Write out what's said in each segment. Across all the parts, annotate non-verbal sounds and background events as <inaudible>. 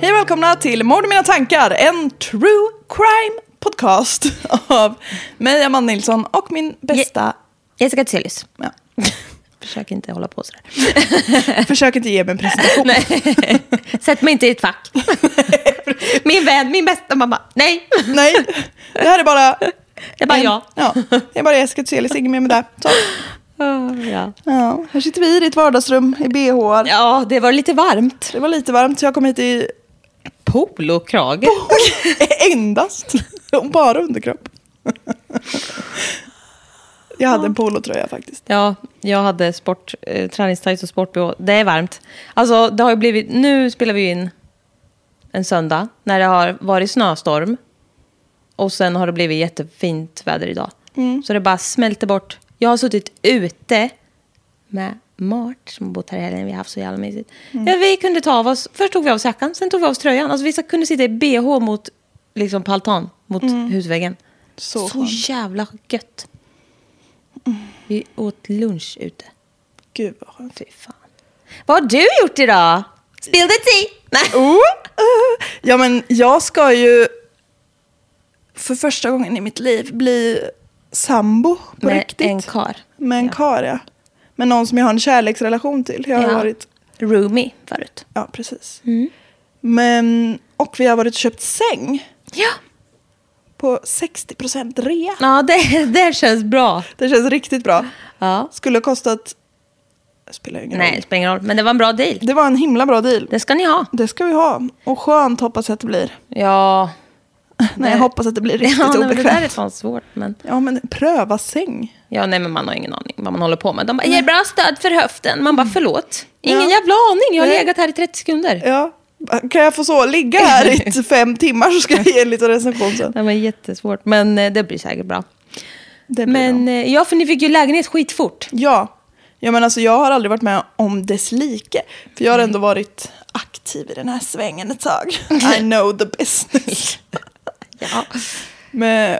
Hej och välkomna till Mord i mina tankar, en true crime podcast <laughs> av mig, Amanda Nilsson, och min bästa... Jessica Thyselius. Ja. <laughs> Försök inte hålla på sådär. <laughs> Försök inte ge mig en presentation. Nej. Sätt mig inte i ett fack. <laughs> min vän, min bästa mamma. Nej, Nej, det här är bara... det är bara en- jag. Ja, det är bara Jessica Thyselius, inget mer med det. Så. Ja. Ja, här sitter vi i ditt vardagsrum i bh. ja, det var lite varmt. Det var lite varmt så jag kom hit i Polokrage. <laughs> endast, och bara underkropp. Jag hade en polotröja faktiskt. Ja, jag hade sport, eh, träningstights och sport-bh. Det är varmt. Alltså, det har ju blivit... Nu spelar vi ju in en söndag när det har varit snöstorm. Och sen har det blivit jättefint väder idag. Så det bara smälter bort. Jag har suttit ute med Mart som har bott här i helgen. Vi har haft så jävla mysigt. Ja, vi kunde ta av oss... Först tog vi av oss jackan, sen tog vi av oss tröjan. Alltså, vi kunde sitta i bh mot, liksom, på altan, mot husväggen. Så Så, skönt. jävla gött. Vi åt lunch ute. Gud vad skönt. Fy fan. Vad har du gjort idag? Spill the tea! Nej. Oh, eh. Ja, men jag ska ju för första gången i mitt liv bli sambo på Med riktigt. en kar. Med en Ja. kar, ja. Med någon som jag har en kärleksrelation till. Jag har Ja. Mm. varit... Roomie förut. Ja, precis. Men, och vi har varit och köpt säng Ja, på 60% rea. ja det, det känns bra. Det känns riktigt bra. Ja. Skulle ha kostat... Det spelar ju ingen Nej, roll. det spelar ingen roll. Men det var en bra deal. Det var en himla bra deal. Det ska ni ha. Det ska vi ha. Och skönt hoppas jag att det blir. Ja. Nej, jag hoppas att det blir riktigt ja, nej, men Det där är obekvämt. fan svårt. Men, Ja, men pröva säng. ja, nej, men man har ingen aning vad man håller på med. De bara, ger bra stöd för höften. Man bara, förlåt. Ingen Mm. Ja. jävla aning. Jag har Nej. legat här i 30 sekunder. Ja. Kan jag få så ligga <laughs> här i fem timmar så ska jag ge en liten recension sen. Det var jättesvårt, men eh, det blir säkert bra. Det blir Men bra. eh, ja, för ni fick ju lägenhet skitfort. Ja. ja, men alltså jag har aldrig varit med om dess like. För jag har Mm. ändå varit aktiv i den här svängen ett <laughs> tag. I know the business. Ja. men,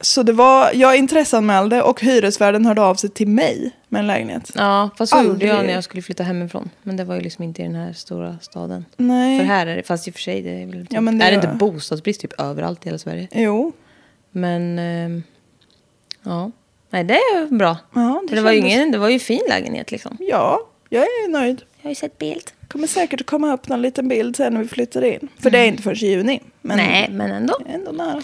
så det var, jag intresseanmälde och hyresvärden hörde av sig till mig med en lägenhet. Ja, fast så gjorde Aldrig. jag när jag skulle flytta hemifrån. Men det var ju liksom inte i den här stora staden. Nej. För här är det, fast i och för sig, det är väl typ, Ja, men det är det var- inte bostadsbrist typ överallt i hela Sverige? Jo. Men, ehm, ja. Nej, det är ju bra. Ja, det det, det, var ju kändes- ingen, det var ju fin lägenhet liksom. Ja, jag är nöjd. Jag har ju sett bild. Kommer säkert komma upp någon liten bild sen när vi flyttar in. För det är inte förrän i juni. Men Nej, men ändå. ändå nära.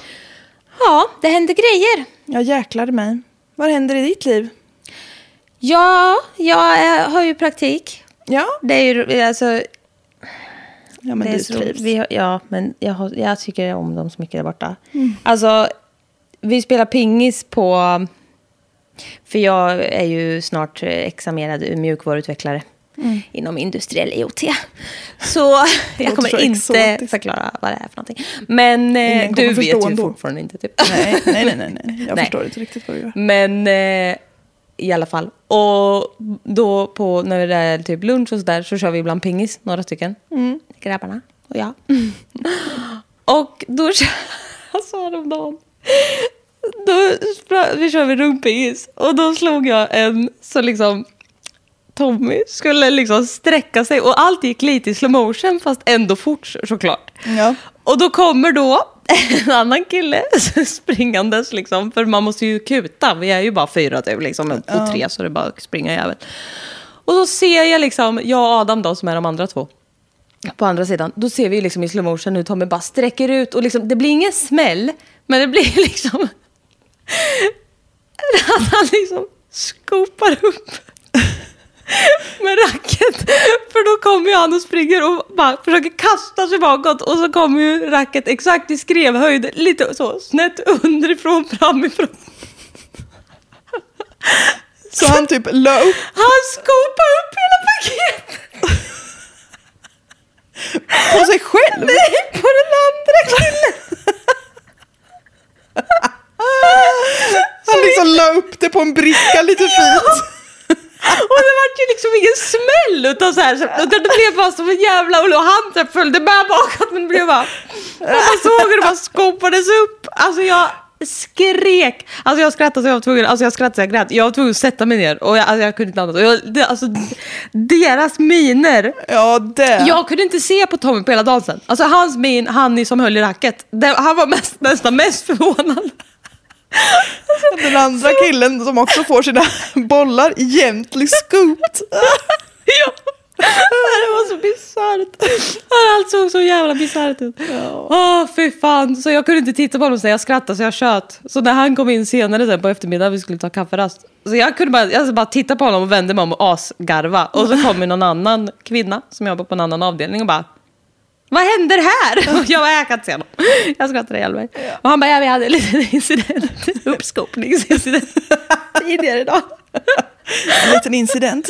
Ja, det händer grejer. Ja, jäklar i mig. Vad händer i ditt liv? Ja, jag eh, har ju praktik. Ja, Det är ju, alltså, ja men det är du så- trivs. Vi har, ja, men jag, har, jag tycker om dem så mycket där borta. Mm. Alltså, vi spelar pingis på... För jag är ju snart eh, examinerad mjukvaruutvecklare. Mm. inom industriell IoT. <laughs> Så jag kommer så inte exotiskt. förklara vad det är för någonting. Men eh, Ingen kommer du vet förstå ju ändå. fortfarande inte. Typ. Nej, nej, nej, nej, nej. Jag Nej. förstår inte riktigt vad du gör. Men eh, i alla fall. Och då på, när det är typ lunch och sådär så kör vi ibland pingis, några stycken. Grabbarna och jag. och då <laughs> kör... Alltså häromdagen. Då sprang, vi kör vi rumpingis och då slog jag en så liksom Tommy skulle liksom sträcka sig och allt gick lite i slow motion fast ändå fort så- såklart. Ja. Och då kommer då en annan kille <laughs> springandes liksom, för man måste ju kuta, vi är ju bara fyra typ, liksom, och tre så det är bara att springa jävligt. Och då ser jag liksom, jag och Adam då som är de andra två, på andra sidan, då ser vi liksom i slow motion hur Tommy bara sträcker ut och liksom, det blir ingen smäll, men det blir <laughs> liksom att han liksom skopar upp med racket. För då kommer ju han och springer och bara försöker kasta sig bakåt och så kommer ju racket exakt i skrevhöjd, lite så snett underifrån, framifrån. Så han typ la upp Han skopar upp hela paketet! på sig själv. Nej, på den andra killen! Han liksom la upp det på en bricka lite fint. Och det vart ju liksom ingen smäll utan så här, så- utan det blev bara som en jävla... Och han så här följde med bakåt men det blev bara... Och man såg hur det bara skopades upp. Alltså jag skrek. Alltså jag skrattade så jag var tvungen, alltså jag skrattade så jag grät. Jag var tvungen att sätta mig ner och jag, alltså jag kunde inte andas. Och jag, det, alltså, deras miner. Ja, det. Jag kunde inte se på Tommy på hela dansen. Alltså hans min, han som höll i racket. Det, han var mest, nästan mest förvånad. Den andra killen som också får sina bollar jämtligt skumt. <laughs> Ja. Det var så bisarrt. Allt såg så jävla bisarrt ut. Åh, fy fan. Så jag kunde inte titta på honom så jag skrattade så jag tjöt. Så när han kom in senare sen på eftermiddagen, vi skulle ta kafferast. Så jag kunde bara, jag bara titta på honom och vände mig om och asgarva. Och så kom ju någon annan kvinna som jobbar på en annan avdelning och bara vad händer här? <laughs> Och jag bara, jag kan inte se honom. Jag skrattade ihjäl mig. Och han bara, ja, vi hade en liten <laughs> incident. Uppskopningsincident. Tidigare idag. En liten incident.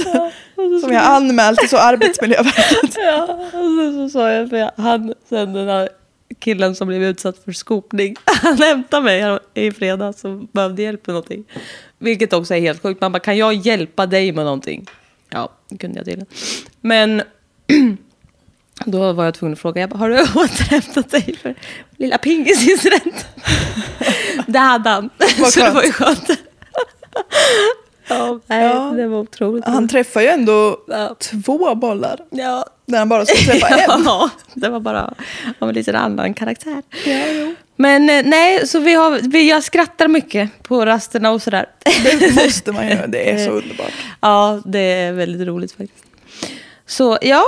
Som jag anmält till så Arbetsmiljöverket. <laughs> Ja, och sen så sa jag, för jag, han, sen den här killen som blev utsatt för skopning, <laughs> han hämtade mig här i fredags och behövde hjälp med någonting. Vilket också är helt sjukt. Man bara, kan jag hjälpa dig med någonting? Ja, det kunde jag tydligen. Men <clears throat> då var jag tvungen att fråga, jag bara, har du <laughs> återhämtat dig för lilla pingisincidenten? <laughs> det hade han, <laughs> Vad så det var ju skönt. skönt. <laughs> ja, nej, Ja. det var otroligt. Han träffar ju ändå Ja. två bollar. ja. När han bara ska <laughs> träffa en. Ja, det var bara av en lite annan karaktär. Men eh, nej, så vi har, vi, jag skrattar mycket på rasterna och sådär. Det måste man göra, det är så Eh. underbart. <laughs> Ja, det är väldigt roligt faktiskt. Så ja,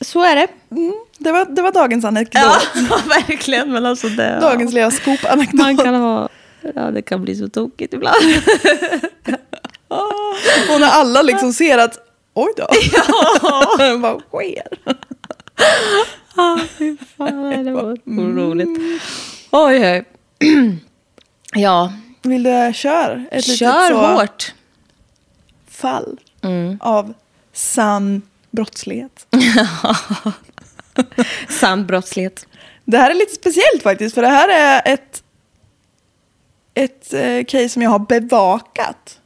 så är det. Mm. Det var, det var dagens anekdot. <laughs> Ja, verkligen. Men alltså det, Dagens lilla skopanekdot. Man kan ha... Ja, det kan bli så tokigt ibland. <laughs> Och när alla liksom ser att oj då. Ja. Vad sker? Ah, fy fan, nej, det var Mm. oroligt. Oj, oj. <clears throat> Ja, Vill du köra ett litet kör så hårt. Mm. fall av sann brottslighet? Sann brottslighet. Det här är lite speciellt faktiskt för det här är ett, ett eh, case som jag har bevakat.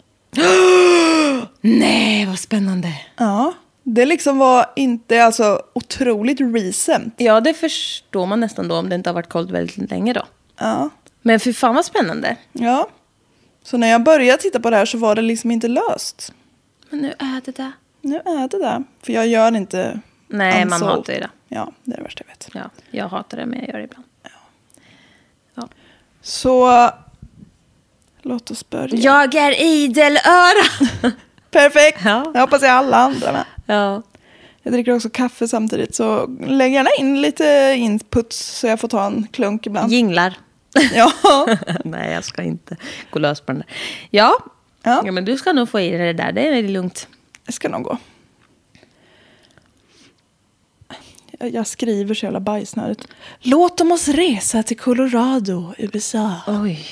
Nej, vad spännande. Ja. Det liksom var inte alltså otroligt recent. Ja, det förstår man nästan då om det inte har varit kollt väldigt länge då. Ja. Men för fan vad spännande. ja. Så när jag började titta på det här så var det liksom inte löst. Men nu är det där. Nu är det där. För jag gör inte Nej, man unsolved. hatar ju det. Ja, det är det värsta jag vet. Ja, jag hatar det men jag gör det ibland. Så låt oss börja. Jag är idelöra! Perfekt! Ja. Jag hoppas jag alla andra med. <laughs> ja. Jag dricker också kaffe samtidigt så lägg gärna in lite inputs så jag får ta en klunk ibland. Jinglar. Ja. <laughs> Nej, jag ska inte gå lös på den där. Ja. Ja. ja. men du ska nog få i dig det där. Det är lugnt. Det ska nog gå. Jag- Jag skriver så jävla bajsnödigt. Låt dem oss resa till Colorado, USA. Oj.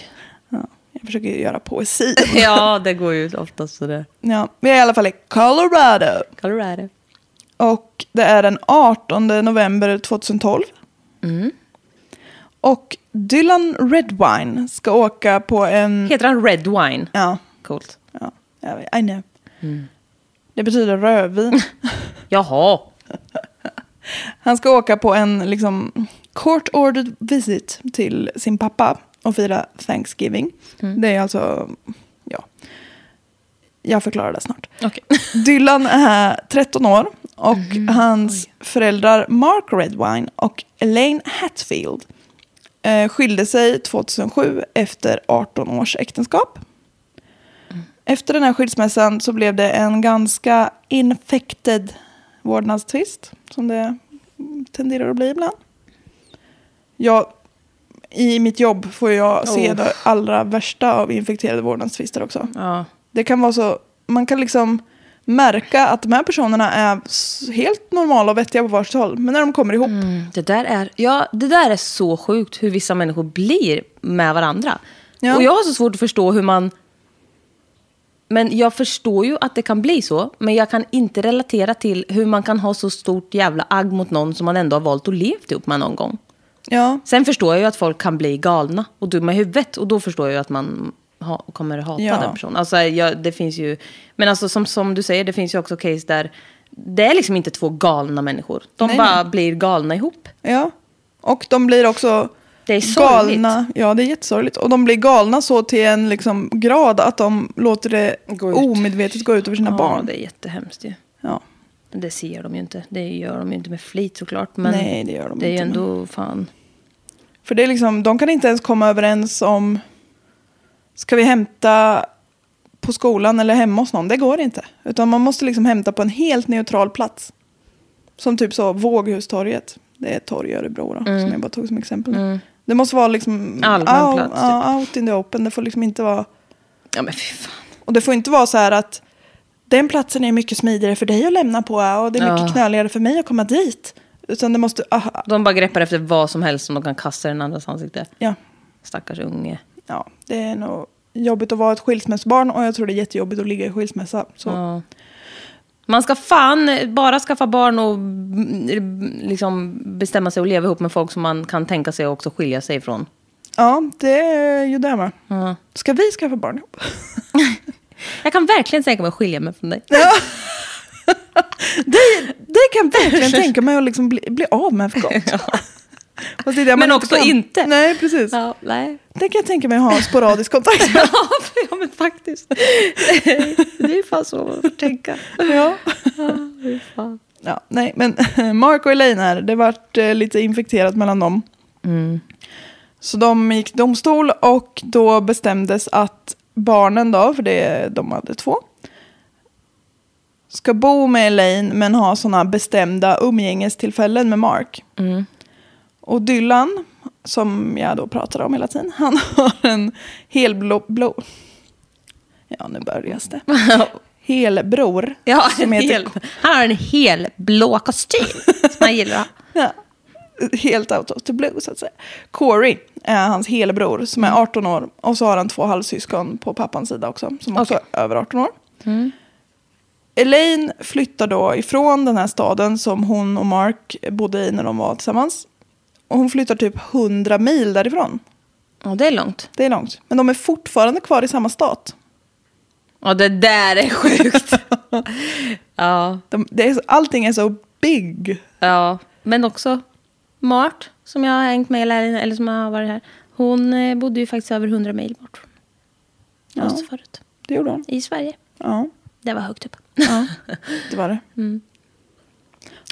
Ja, jag försöker göra poesi. <laughs> Ja, det går ju oftast sådär. Ja, vi är i alla fall i Colorado. Colorado. Och det är den 18 november 2012. Och Dylan Redwine ska åka på en... Heter han Red Wine? Ja, Coolt. ja jag vet, I know. Det betyder rödvin. Jaha. Han ska åka på en liksom, court ordered visit till sin pappa och fira Thanksgiving. Det är alltså, ja. Jag förklarar det snart. Okej. Dylan är 13 år och hans föräldrar Mark Redwine och Elaine Hatfield eh, skilde sig 2007 efter 18 års äktenskap. Efter den här skilsmässan så blev det en ganska infected vårdnadstvist som det tenderar att bli ibland. Jag, I mitt jobb får jag se Oh. det allra värsta av infekterade vårdnadstvister också. Ja. Det kan vara så, man kan liksom märka att de här personerna är s- helt normala och vettiga på varsitt håll. Men när de kommer ihop, Det där, är, ja, det där är så sjukt hur vissa människor blir med varandra. Ja. Och jag har så svårt att förstå hur man... Men jag förstår ju att det kan bli så, men jag kan inte relatera till hur man kan ha så stort jävla agg mot någon som man ändå har valt att levt ihop med någon gång. ja, Sen förstår jag ju att folk kan bli galna och dumma i huvudet och då förstår jag ju att man ha, kommer hata Ja. den personen. Alltså, jag, det finns ju, men alltså, som, som du säger, det finns ju också case där det är liksom inte två galna människor. De Nej, bara blir galna ihop. ja. Och de blir också Det är sorgligt. galna. Ja, det är jättesorgligt. Och de blir galna så till en liksom grad att de låter det Gå ut. omedvetet gå ut över sina barn. Ja, det är jättehemskt ju. Ja. Men Det ser de ju inte. Det gör de ju inte med flit såklart. Men Nej, det gör de Det är ju inte, men- ändå fan. För det är liksom, de kan inte ens komma överens om, ska vi hämta på skolan eller hemma hos någon? Det går inte. Utan man måste liksom hämta på en helt neutral plats. Som typ så Våghustorget. Det är ett torg i Örebro då, som jag bara tog som exempel. Det måste vara liksom Mm. Allmän plats, out, typ. ja, out in the open. Det får liksom inte vara... Ja men fy fan. Och det får inte vara så här att den platsen är mycket smidigare för dig att lämna på och det är mycket Ja. knöligare för mig att komma dit. Utan det måste... ah, De bara greppar efter vad som helst som de kan kasta i den andras ansikte. ja. Stackars unge. ja, det är nog jobbigt att vara ett skilsmässobarn och jag tror det är jättejobbigt att ligga i skilsmässa. Så. Ja. Man ska fan bara skaffa barn och mm, liksom bestämma sig och leva ihop med folk som man kan tänka sig också skilja sig ifrån. Ja, det är ju det med. Ja. Ska vi skaffa barn ihop? Jag kan verkligen tänka mig att skilja mig från dig. <laughs> Det kan jag <laughs> verkligen tänka mig att liksom bli, bli av med för gott. Fast det är det man Men också kan. inte. Nej, precis. Ja, nej. Det kan jag tänka mig att ha sporadisk kontakt med. <laughs> ja, men faktiskt. <laughs> Det är fan så man får tänka. ja. ja, nej, men <laughs> Mark och Elaine här, det vart eh, lite infekterat mellan dem. Mm. Så de gick till domstol och då bestämdes att barnen då, för det, de hade två, ska bo med Elaine men ha sådana bestämda umgängestillfällen med Mark. Mm. Och Dylan, som jag då pratade om hela tiden, han <laughs> har en helblå... Blå, ja, nu börjas <laughs> det. Helbror. Ja, som en heter- hel, han har en hel blå kostym som han gillar. att ha. Ja. Helt out of the blue så att säga. Corey är hans helbror som är 18 år och så har han två halvsyskon på pappans sida också som också Okej. är över 18 år. Elaine flyttar då ifrån den här staden som hon och Mark bodde i när de var tillsammans. Och hon flyttar typ 100 mil därifrån. Ja, det är långt. Det är långt. Men de är fortfarande kvar i samma stat. Ja, det där är sjukt. ja, De, det är, så- allting är så big. <laughs> ja. Men också Mart, som jag har hängt med, eller, eller som har varit här. Hon eh, bodde ju faktiskt över 100 mil bort från Ja. oss förut. Det gjorde hon. I Sverige. Ja, Det var högt upp. ja. <laughs> det var det.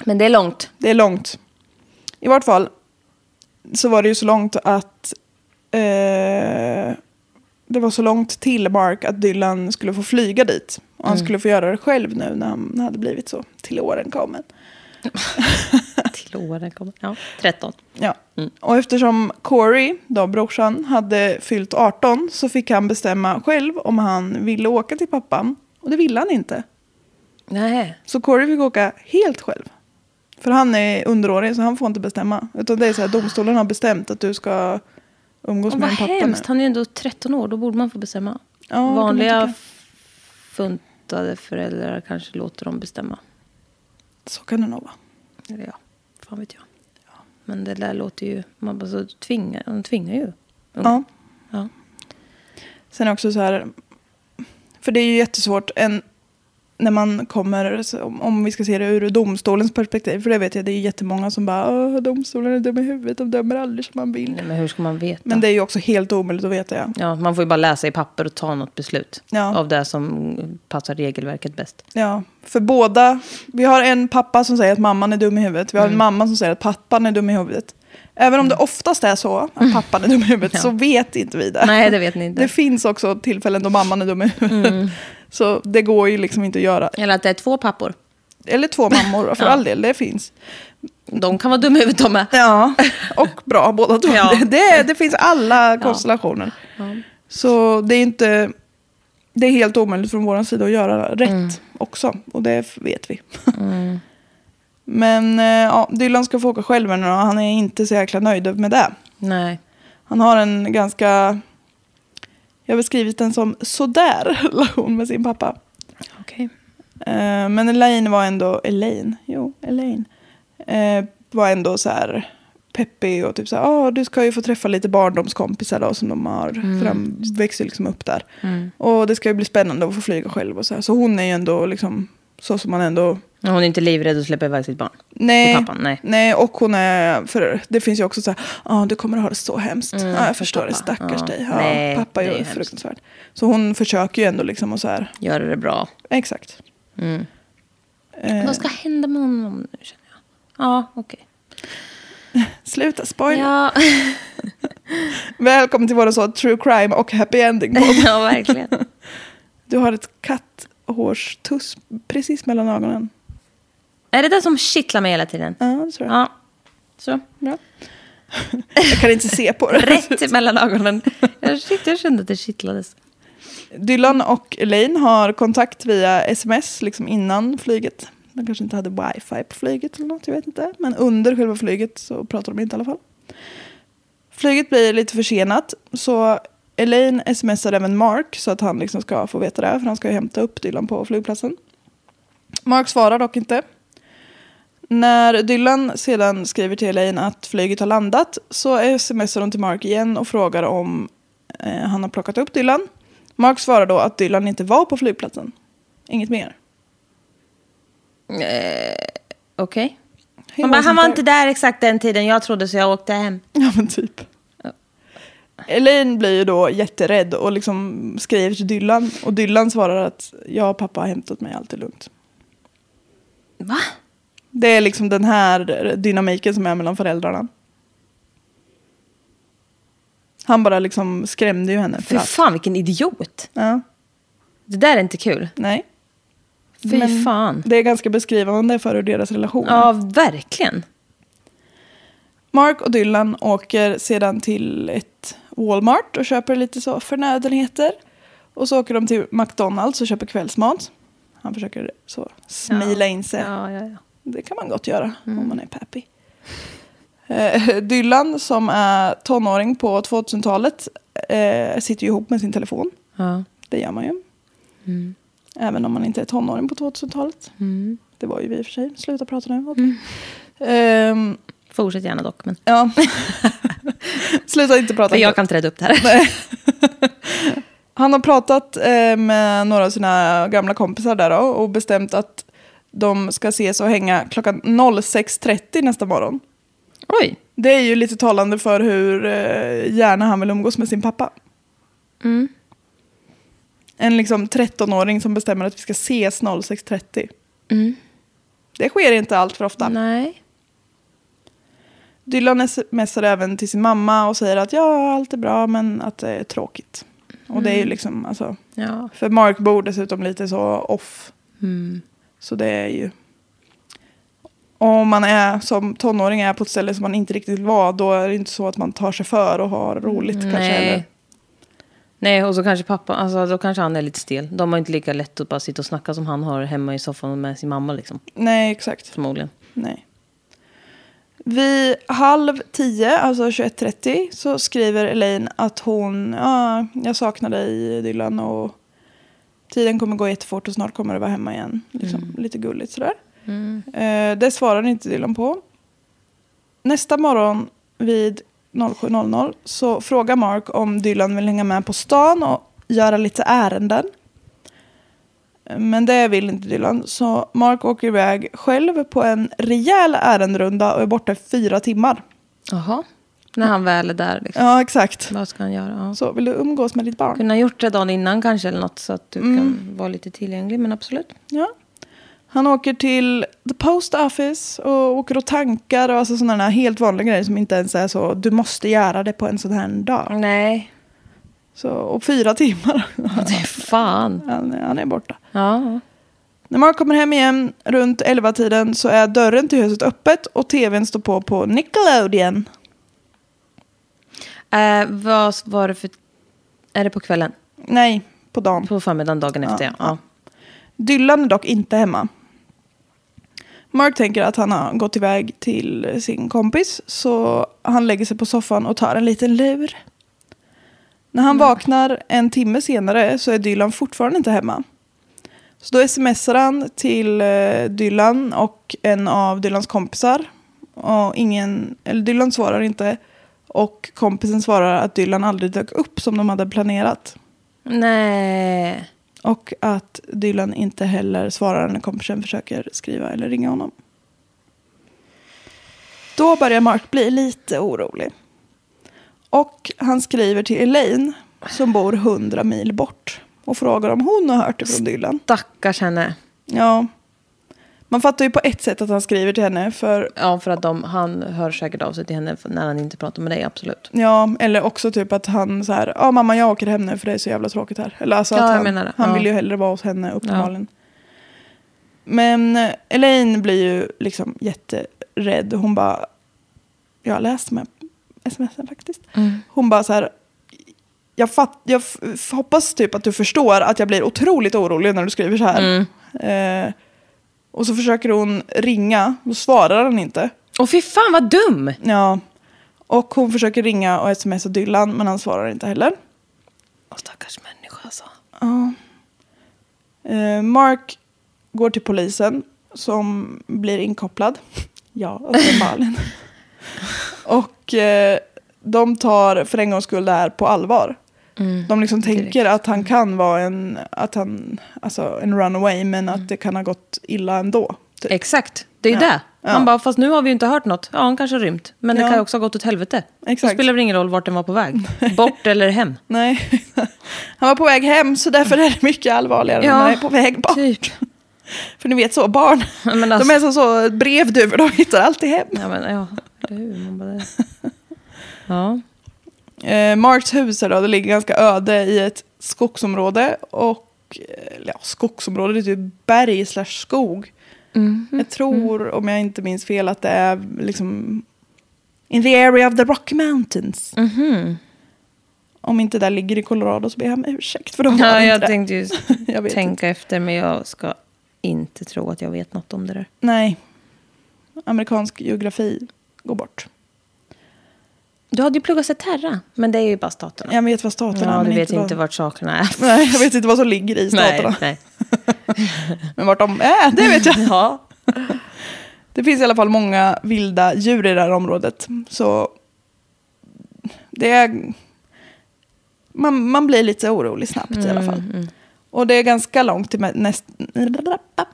Men det är långt. Det är långt. I vart fall så var det ju så långt att eh, det var så långt till Mark att Dylan skulle få flyga dit. Och han skulle få göra det själv nu när han hade blivit så till åren kommen. <laughs> Till åren kommer. Ja, 13. Ja. Och eftersom Corey, då brorsan, hade fyllt 18 så fick han bestämma själv om han ville åka till pappan. Och det ville han inte. Nej. Så Corey fick åka helt själv. För han är underårig så han får inte bestämma. Utan det är så här, domstolen har bestämt att du ska umgås Och med vad en pappa hemskt, nu. han är ju ändå 13 år, då borde man få bestämma. Ja, kan man Vanliga tycka. funtade föräldrar kanske låter dem bestämma. Så kan det nog vara. Eller ja, fan vet jag. Men det där låter ju... Man bara så tvingar, de tvingar ju. Ja. Mm. Ja. Sen också så här, för det är ju jättesvårt en, när man kommer, så om- om vi ska se det ur domstolens perspektiv, för det vet jag, det är jättemånga som bara "Åh, domstolen är dum i huvudet, de dömer aldrig som man vill. Nej, men hur ska man veta? Men det är ju också helt omöjligt att veta. Ja. Ja, man får ju bara läsa i papper och ta något beslut. Ja. Av det som passar regelverket bäst. Ja, för båda, vi har en pappa som säger att mamman är dum i huvudet, vi Mm. har en mamma som säger att pappan är dum i huvudet. Även om det oftast är så att pappan är dum i <laughs> huvudet så vet inte vi det. Mm. Nej, det <laughs> vet ni inte. Mm. Det finns också tillfällen då mamman är dum i huvudet. <laughs> Så det går ju liksom inte att göra. Eller att det är två pappor. Eller två mammor, för Ja. all del, det finns. De kan vara dumma i huvudet de med. Ja, <laughs> och bra båda två. Ja. Det- Det, det finns alla konstellationer. Så det är inte... Det är helt omöjligt från vår sida att göra rätt också. Och det vet vi. <laughs> Men eh, ja, Dylan ska få åka själv nu och han är inte så jäkla nöjd med det. Nej. Han har en ganska... Jag har beskrivit den som sådär <laughs> relation med sin pappa. Okej. Eh, men Elaine var ändå, Elaine, jo, Elaine, eh, var ändå så här peppig och typ så här, ah, du ska ju få träffa lite barndomskompisar då som de har, Mm. för de växer liksom upp där. Och det ska ju bli spännande att få flyga själv och så här. Så hon är ju ändå liksom, så som man ändå Hon är inte livrädd att släppa iväg sitt barn. Nej. Till pappan, nej. och hon är, för det finns ju också så här, ja du kommer att ha det så hemskt. ja, jag för förstår det, Mm, pappa. stackars Ja. dig. Ja, Nej, pappa det är är ju hemskt. fruktansvärt. Så hon försöker ju ändå liksom och så här, Göra det bra. exakt. Eh, Vad ska hända med honom nu känner jag? Ja, okej. sluta spoila. Ja. <laughs> Välkommen till våran så true crime och happy ending podd. ja, verkligen. Du har ett katthårstuss precis mellan ögonen. Är det det som kittlar mig hela tiden? Ja, det tror jag. Ja. Så. Bra. Jag kan inte se på det. <laughs> Rätt mellan ögonen. Jag, shit, jag kände att det kittlades. Dylan och Elaine har kontakt via sms liksom innan flyget. De kanske inte hade wifi på flyget eller något, jag vet inte. Men under själva flyget så pratar de inte i alla fall. Flyget blir lite försenat så Elaine smsar även Mark så att han liksom ska få veta det här, för han ska ju hämta upp Dylan på flygplatsen. Mark svarar dock inte. När Dylan sedan skriver till Elaine att flyget har landat så smsar hon till Mark igen och frågar om eh, han har plockat upp Dylan. Mark svarar då att Dylan inte var på flygplatsen. Inget mer. Eh, Okej. He Man bara, han wasn't var there." inte där exakt den tiden jag trodde så jag åkte hem. <laughs> Ja, men typ. Elaine blir ju då jätterädd och liksom skriver till Dylan. Och Dylan svarar att jag och pappa har hämtat mig, allt är lugnt. Va? Det är liksom den här dynamiken som är mellan föräldrarna. Han bara liksom skrämde ju henne. Fy För att, fan vilken idiot. ja, Det där är inte kul. nej. Fy fan. Det är ganska beskrivande för hur deras relation är. Ja, verkligen. Mark och Dylan åker sedan till ett Walmart och köper lite så förnödenheter. Och så åker de till McDonalds och köper kvällsmat. Han försöker så smila in sig. Ja, Mm. ja, ja. Det kan man gott göra om man är peppy. Eh, Dylan som är tonåring på 2000-talet eh, sitter ju ihop med sin telefon. ja. Det gör man ju. Mm. Även om man inte är tonåring på 2000-talet. Det var ju vi i och för sig. Sluta prata nu. Okay. Mm. Ehm, Fortsätt gärna dock. Men... <laughs> Ja. Sluta inte prata. För jag kan inte reda upp det här. Han har pratat eh, med några av sina gamla kompisar där då, och bestämt att de ska ses och hänga klockan 06.30 nästa morgon. <laughs> Oj. Det är ju lite talande för hur eh, gärna han vill umgås med sin pappa. En liksom 13-åring som bestämmer att vi ska ses 06.30. Det sker inte allt för ofta. Nej. Dylan smsar även till sin mamma och säger att ja, allt är bra men att det är tråkigt. Och det är ju liksom, alltså, Ja. för Mark bor dessutom lite så off. Så det är ju... Om man är som tonåring är på ett ställe som man inte riktigt var, då är det inte så att man tar sig för och har roligt kanske. Nej. Eller, Nej, och så kanske pappa, alltså då kanske han är lite stel. De har inte lika lätt att bara sitta och snacka som han har hemma i soffan med sin mamma liksom. nej, exakt. Förmodligen. Nej. Vid halv tio, alltså 21.30, så skriver Elaine att hon, ja, jag saknar dig Dylan och tiden kommer gå jättefort och snart kommer du vara hemma igen. Liksom, Lite gulligt sådär. Eh, det svarar inte Dylan på. Nästa morgon vid 07.00 så frågar Mark om Dylan vill hänga med på stan och göra lite ärenden. Men det vill inte Dylan, så Mark åker iväg själv på en rejäl ärenderunda och är borta i fyra timmar. Jaha. När han väl är där. Liksom. Ja, exakt. Vad ska han göra? Ja. Så vill du umgås med ditt barn? Kunde ha gjort det dagen innan kanske eller något så att du kan vara lite tillgänglig. Men absolut. Ja. Han åker till the post office och åker och tankar och alltså sådana här helt vanliga grejer som inte ens är så du måste göra det på en sån här dag. Nej. <laughs> Så, och fyra timmar. <laughs> Det är fan. Han, han är borta. Ja. När Mark kommer hem igen runt 11-tiden så är dörren till huset öppet och tvn står på på Nickelodeon. Eh, vad var det för... Är det på kvällen? Nej, på dagen. På förmiddagen dagen efter ja. ja. Dylan är dock inte hemma. Mark tänker att han har gått iväg till sin kompis så han lägger sig på soffan och tar en liten lur. När han vaknar en timme senare så är Dylan fortfarande inte hemma. Så då smsar han till eh, Dylan och en av Dylans kompisar. Och ingen, eller Dylan svarar inte och kompisen svarar att Dylan aldrig dök upp som de hade planerat. Nej. Och att Dylan inte heller svarar när kompisen försöker skriva eller ringa honom. Då börjar Mark bli lite orolig. Och han skriver till Elaine som bor 100 mil bort och frågar om hon har hört det från Dylan. Stackars henne. Ja. Man fattar ju på ett sätt att han skriver till henne för Ja, för att de, han hör säkert av sig till henne för- när han inte pratar med dig, absolut. Ja, eller också typ att han så här, ja mamma jag åker hem nu för det är så jävla tråkigt här. Eller alltså Ja, att jag han, menar det. han Ja. vill ju hellre vara hos henne uppenbarligen. Men eh, Elaine blir ju liksom jätterädd. Hon bara, jag har läst med smsen faktiskt. Mm. Hon bara så här, jag, fatt, jag f- f- hoppas typ att du förstår att jag blir otroligt orolig när du skriver så Mm. här. Eh, och så försöker hon ringa, och svarar han inte. Och fy fan vad dum! Ja. Och hon försöker ringa och smsa Dylan, men han svarar inte heller. Åh, stackars människa alltså. Eh, Mark går till polisen, som blir inkopplad. <laughs> Ja, <laughs> uppenbarligen. och eh, de tar för en gångs skull det här på allvar. Mm. de liksom tänker att han kan vara en, att han, alltså en runaway, men Mm. att det kan ha gått illa ändå. typ. Exakt, det är ju det. Han bara, fast nu har vi ju inte hört något. Ja, han kanske har rymt. Men det Ja. kan ju också ha gått åt helvete. Då Exakt. spelar det ingen roll vart den var på <laughs> väg. Bort eller hem. Nej, <laughs> han var på väg hem, så därför är det mycket allvarligare när Ja, han är på väg bort. Typ. För ni vet så, barn. Ja, men alltså- De är som så brevduvor, de hittar alltid hem. Ja, men ja, eller hur? Man <laughs> bara, det- ja. Eh, Marks hus här då, det ligger ganska öde i ett skogsområde. Och, eh, ja, skogsområde, det är typ berg slash skog. Jag tror, om jag inte minns fel, att det är liksom in the area of the Rocky Mountains. Mhm. Om inte där ligger i Colorado så ber jag om ursäkt för de har ja, inte <laughs> jag det. tänkte ju Jag vet tänka efter, men jag ska inte tro att jag vet något om det där. Nej, amerikansk geografi går bort. Du hade ju pluggat Terra, men det är ju bara staterna. Jag vet vad staterna Ja, men du vet vad- inte vart sakerna är. <laughs> Nej, jag vet inte vad som ligger i staterna. Nej, nej. Men vart de är, det vet jag. Det finns i alla fall många vilda djur i det här området. Så det är... Man, man blir lite orolig snabbt i alla fall. Och det är ganska långt till mä- näst... <laughs> Mm,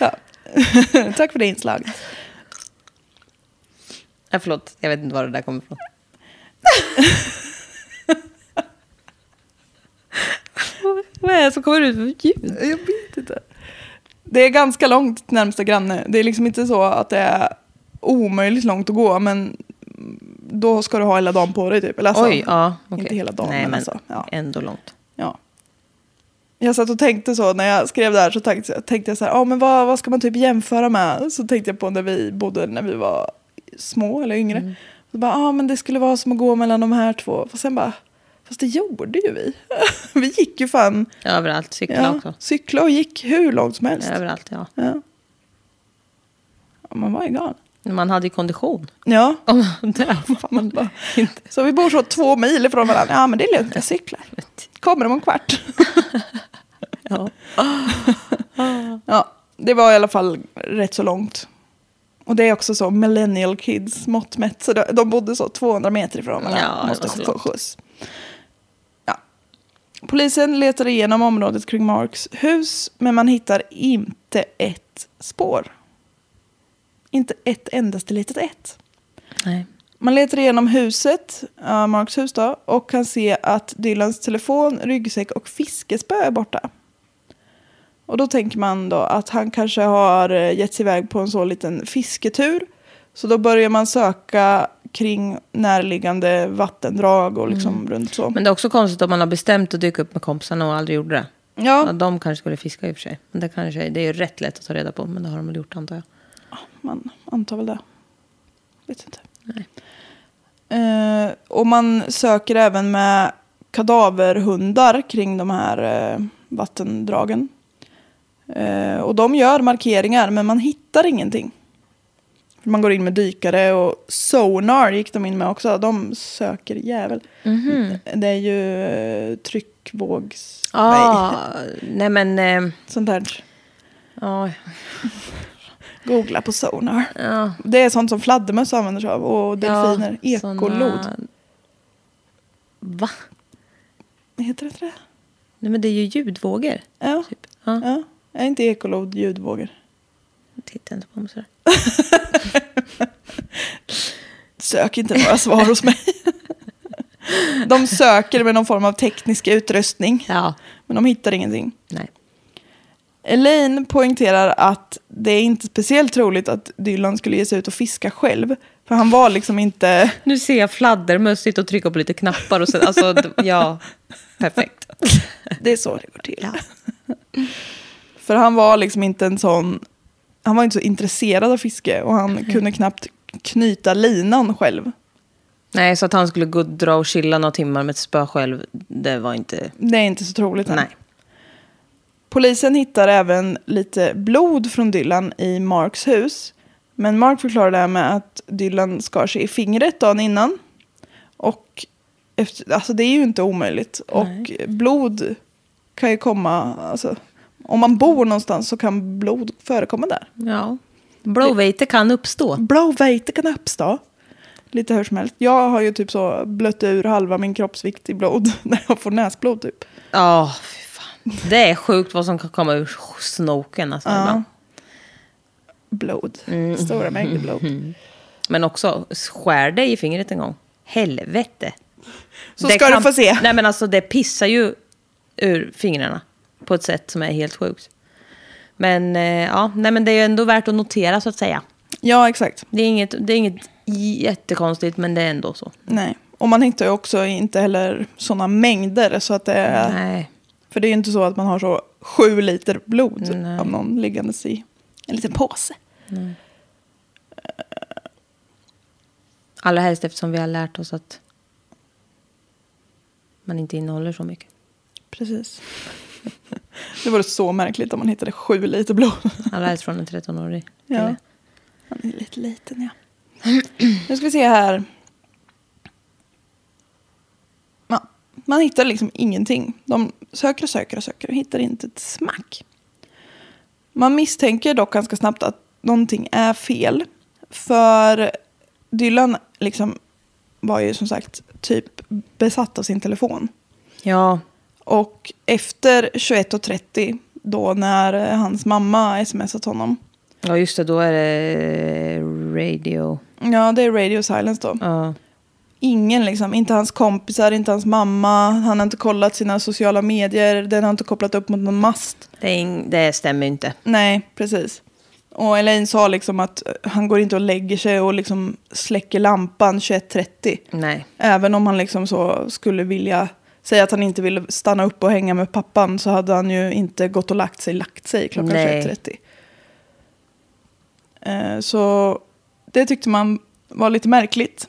Ja. <laughs> Tack för det inslaget. Ja, Eh, förlåt, jag vet inte var det där kommer <laughs> ifrån. Vad är det som kommer ut för ljud? Jag vet inte. Det är ganska långt till närmsta granne. Det är liksom inte så att det är omöjligt långt att gå, men då ska du ha hela dagen på dig typ. Eller alltså, Oj, ja. okej. Inte hela dagen, Nej, men men alltså, ja. ändå långt. Ja. Jag satt och tänkte så när jag skrev det här så tänkte, tänkte jag så här, ah, men vad, vad ska man typ jämföra med? Så tänkte jag på när vi bodde när vi var Mm. små eller yngre. Så bara, ah, men det skulle vara som att gå mellan de här två. Och sen bara, fast Fast det gjorde ju vi. <laughs> vi gick ju fan... Överallt, cykla Ja, också. cykla och gick hur långt som helst. Överallt, ja. Ja. Ja, man var ju galen. Man hade ju kondition. <laughs> Ja. Om man där <laughs> var man bara inte... Så vi bor så två mil ifrån varandra. Ja, men det är lugnt, jag cyklar. Kommer om en kvart. <laughs> Ja. <laughs> Ja, det var i alla fall rätt så långt. Och det är också så, millennial kids mått mätt. Så de- de bodde så 200 meter ifrån varandra. Ja, det Måste var så få långt. skjuts. Ja. Polisen letar igenom området kring Marks hus, men man hittar inte ett spår. Inte ett endaste litet ett. Nej. Man letar igenom huset, uh, Marks hus då, och kan se att Dylans telefon, ryggsäck och fiskespö är borta. Och då tänker man då att han kanske har eh, gett sig iväg på en så liten fisketur. Så då börjar man söka kring närliggande vattendrag och liksom runt så. Men det är också konstigt om man har bestämt att dyka upp med kompisarna och aldrig gjorde det. Ja, ja, de kanske skulle fiska i och för sig. Men det, kanske, det är ju rätt lätt att ta reda på, men det har de väl gjort antar jag. man antar väl det. Vet inte. Eh, och man söker även med kadaverhundar kring de här eh, vattendragen. Eh, och de gör markeringar men man hittar ingenting. För Man går in med dykare och sonar gick de in med också. De söker jävel. Det är ju eh, tryckvågs... Nej, <laughs> Ah, nej men... Eh, sånt där. ja, Googla på sonar. ja, Det är sånt som fladdermöss använder sig av och delfiner. ja, Ekolod. såna- Va? Heter det inte det? Nej men det är ju ljudvågor. Ja. Typ. Ja, ja. Är inte ekolod ljudvågor? tittar inte på mig sådär. Sök inte några svar hos <laughs> mig. De söker med någon form av teknisk utrustning, Ja, men de hittar ingenting. nej. Elaine poängterar att det är inte speciellt troligt att Dylan skulle ge sig ut och fiska själv. För han var liksom inte... Nu ser jag fladdermöss sitta och trycka på lite knappar och sen, alltså, d- ja, perfekt. Det är så det går till. <laughs> För han var liksom inte en sån... Han var inte så intresserad av fiske och han kunde knappt knyta linan själv. Nej, så att han skulle gå och dra och chilla några timmar med ett spö själv, det var inte... Det är inte så troligt. än. Nej. Polisen hittar även lite blod från Dylan i Marks hus. Men Mark förklarar det här med att Dylan skar sig i fingret dagen innan. Och efter, alltså det är ju inte omöjligt. Och blod kan ju komma... Alltså, om man bor någonstans så kan blod förekomma där. Ja. Blåvete kan uppstå. Blåvete kan uppstå. Lite hur som helst. Jag har ju typ så blött ur halva min kroppsvikt i blod <laughs> när jag får näsblod typ. Ja, fy fan. Det är sjukt vad som kan komma ur snoken. Alltså, ibland. Blod. Mm. Stora mängder <laughs> blod. Men också, skär dig i fingret en gång. Helvete. Så ska du få se. Nej men alltså det pissar ju ur fingrarna. På ett sätt som är helt sjukt. Men eh, ja, nej men det är ju ändå värt att notera så att säga. Ja, exakt. Det är inget, det är inget jättekonstigt men det är ändå så. Nej. Och man hittar ju också inte heller sådana mängder. Så att det är, Nej. För det är ju inte så att man har så sju liter blod Nej. av någon liggandes i en liten påse. Allra helst eftersom vi har lärt oss att man inte innehåller så mycket. Precis. <laughs> Det vore så märkligt om man hittade sju liter blod. Allra helst från en 13-årig Ja. kille. Han är lite liten, ja. Nu ska vi se här. Ja, man hittar liksom ingenting. De söker och söker och söker och hittar inte ett smack. Man misstänker dock ganska snabbt att någonting är fel. För Dylan liksom var ju som sagt typ besatt av sin telefon. Ja, Och efter 21.30 då när hans mamma smsat honom. ja just det, då är det radio. Ja, det är radio silence då. Ja. Ingen liksom, inte hans kompisar, inte hans mamma. Han har inte kollat sina sociala medier, den har inte kopplat upp mot någon mast. Det, är ing- det stämmer ju inte. Nej, precis. Och Elaine sa liksom att eh, han går inte och lägger sig och liksom släcker lampan 21.30. Nej. Även om han liksom så skulle vilja säga att han inte ville stanna upp och hänga med pappan så hade han ju inte gått och lagt sig, lagt sig klockan Nej. 21.30. Eh, Så det tyckte man var lite märkligt.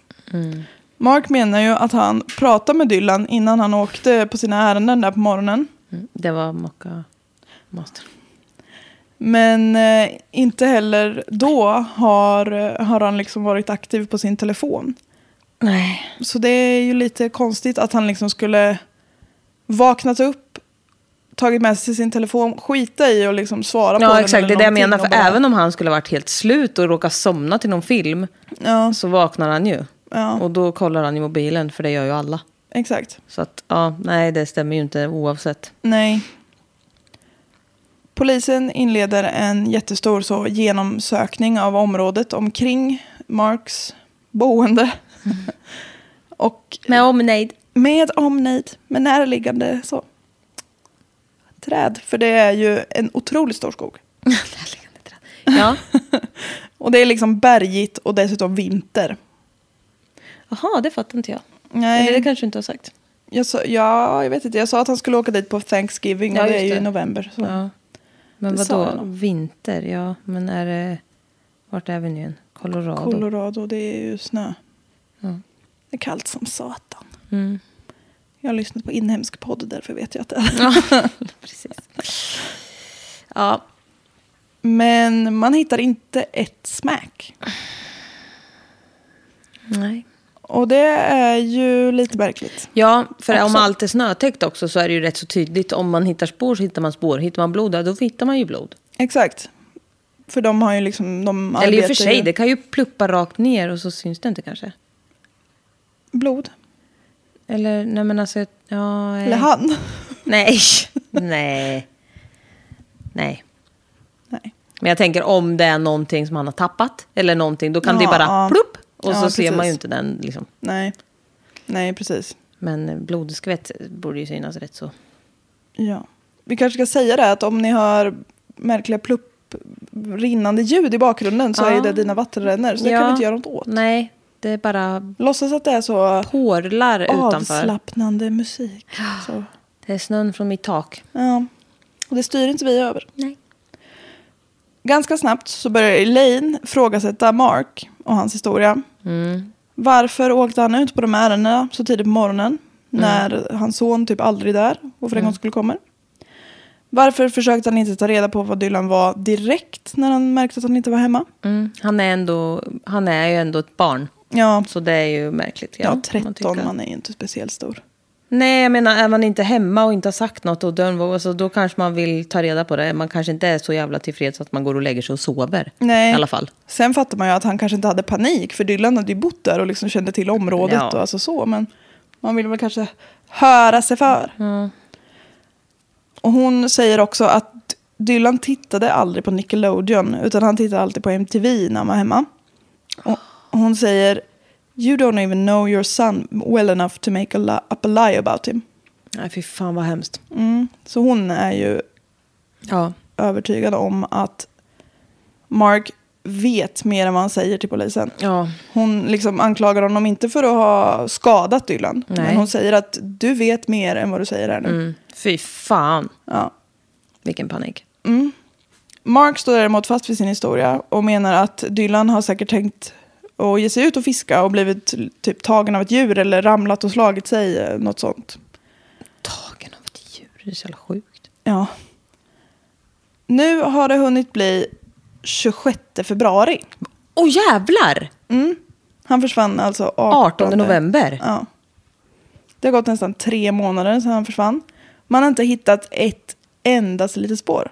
Mark menar ju att han pratade med Dylan innan han åkte på sina ärenden där på morgonen. Mm, Det var mocka master. Men eh, inte heller då har, eh, har han liksom varit aktiv på sin telefon. Nej. Så det är ju lite konstigt att han liksom skulle vaknat upp, tagit med sig sin telefon, skita i och liksom svara på den. Ja, exakt. Det eller är det någonting jag menar. För och bara- även om han skulle ha varit helt slut och råkat somna till någon film Ja, så vaknar han ju. Ja. Och då kollar han i mobilen, för det gör ju alla. exakt. Så att, ja, nej, det stämmer ju <laughs> inte oavsett. Nej. Polisen inleder en jättestor så, genomsökning av området omkring Marks <laughs> boende. och Med omnejd. med omnejd, med närliggande så. träd. För det är ju en otroligt stor skog. Närliggande träd. Ja. Och det är liksom bergigt och dessutom vinter. Jaha, det fattar inte jag. Nej, Eller det kanske du inte har sagt. jag sa, ja, jag vet inte. Jag sa att han skulle åka dit på Thanksgiving Ja, och det är just ju i det. november. Så. Ja. Men Det sa vadå, jag nog. vinter? Ja, men är det... Vart är vi nu igen? Colorado? Colorado, det är ju snö. Det är kallt som satan. Mm. Jag har lyssnat på inhemsk podd, därför vet jag att det är. Precis. Ja, Men man hittar inte ett smack. nej. Och det är ju lite märkligt. Ja, för om Också. allt är snötäckt också så är det ju rätt så tydligt. Om man hittar spår så hittar man spår. Hittar man blod, ja, då hittar man ju blod. Exakt. För de har ju liksom... De Eller i och arbetar för sig, ju- det kan ju pluppa rakt ner och så syns det inte kanske. Blod. Eller, nej men alltså, ja... eh, Eller han. <laughs> Nej, <laughs> nej. Nej. Nej. Men jag tänker om det är någonting som han har tappat eller någonting, då kan det Ja, bara ja. plupp och Ja, så ser precis. man ju inte den. Liksom. Nej. Nej, precis. Men eh, blodskvätt borde ju synas rätt så. Ja. Vi kanske ska säga det att om ni hör märkliga plupp, rinnande ljud i bakgrunden så Ja. är ju det dina vattenrännor. Så det kan vi inte göra något åt. Nej, det är bara Låtsas att det är så porlar utanför. avslappnande musik. Så. Det är snön från mitt tak. Ja. Och det styr inte vi över. Nej. Ganska snabbt så börjar Elaine frågasätta Mark och hans historia. Mm. Varför åkte han ut på de ärendena så tidigt på morgonen Mm. när hans son typ aldrig är där och för en gångs skull kommer? Varför försökte han inte ta reda på vad Dylan var direkt när han märkte att han inte var hemma? Mm. Han, är ändå, han är ju ändå ett barn, Ja, så det är ju märkligt. ja om man 13, tycker- man är ju inte speciellt stor. Nej, jag menar, är man inte hemma och inte har sagt något och dörren var alltså, då kanske man vill ta reda på det. Man kanske inte är så jävla tillfreds att man går och lägger sig och sover. Nej. I alla fall. Sen fattar man ju att han kanske inte hade panik, för Dylan hade ju bott där och liksom kände till området Ja. och alltså så. Men man vill väl kanske höra sig för. Mm. Och hon säger också att Dylan tittade aldrig på Nickelodeon, utan han tittade alltid på MTV när han var hemma. Och hon säger, you don't even know your son well enough to make a li- up a lie about him. Nej, fy fan vad hemskt. Mm. Så hon är ju Ja. övertygad om att Mark vet mer än vad han säger till polisen. Ja. Hon liksom anklagar honom inte för att ha skadat Dylan. Men Nej. hon säger att du vet mer än vad du säger här nu. Mm. Fy fan. Ja. Vilken panik. Mark står däremot fast vid sin historia och menar att Dylan har säkert tänkt att ge sig ut och fiska och blivit typ tagen av ett djur eller ramlat och slagit sig, eh, något sånt. Tagen av ett djur, det är så jävla sjukt. Ja. Nu har det hunnit bli 26 februari. Mm. Åh jävlar! Han försvann alltså 18, 18 november. Ja. Det har gått nästan tre månader sedan han försvann. Man har inte hittat ett endast litet spår.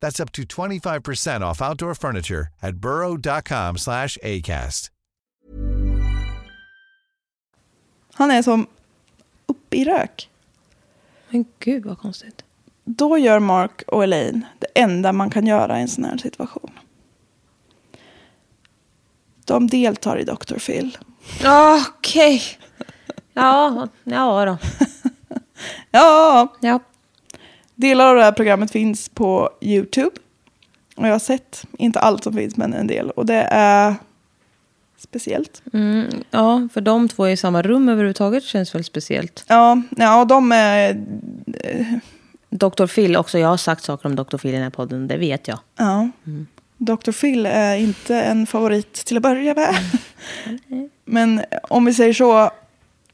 That's up to 25% off outdoor furniture at burrow.com/acast. Han är som upp i rök. Men gud vad konstigt. Då gör Mark och Elaine det enda man kan göra i en sån här situation. De deltar i Dr. Phil. Okej. Ja, ja då. Ja, Ja. delar av det här programmet finns på YouTube. Och jag har sett, inte allt som finns, men en del. Och det är speciellt. ja, för de två är i samma rum överhuvudtaget känns väl speciellt. Ja, ja de är... Dr. Phil också, jag har sagt saker om Dr. Phil i den här podden, det vet jag. Ja. Mm. Dr. Phil är inte en favorit till att börja med. Mm. <laughs> Men om vi säger så,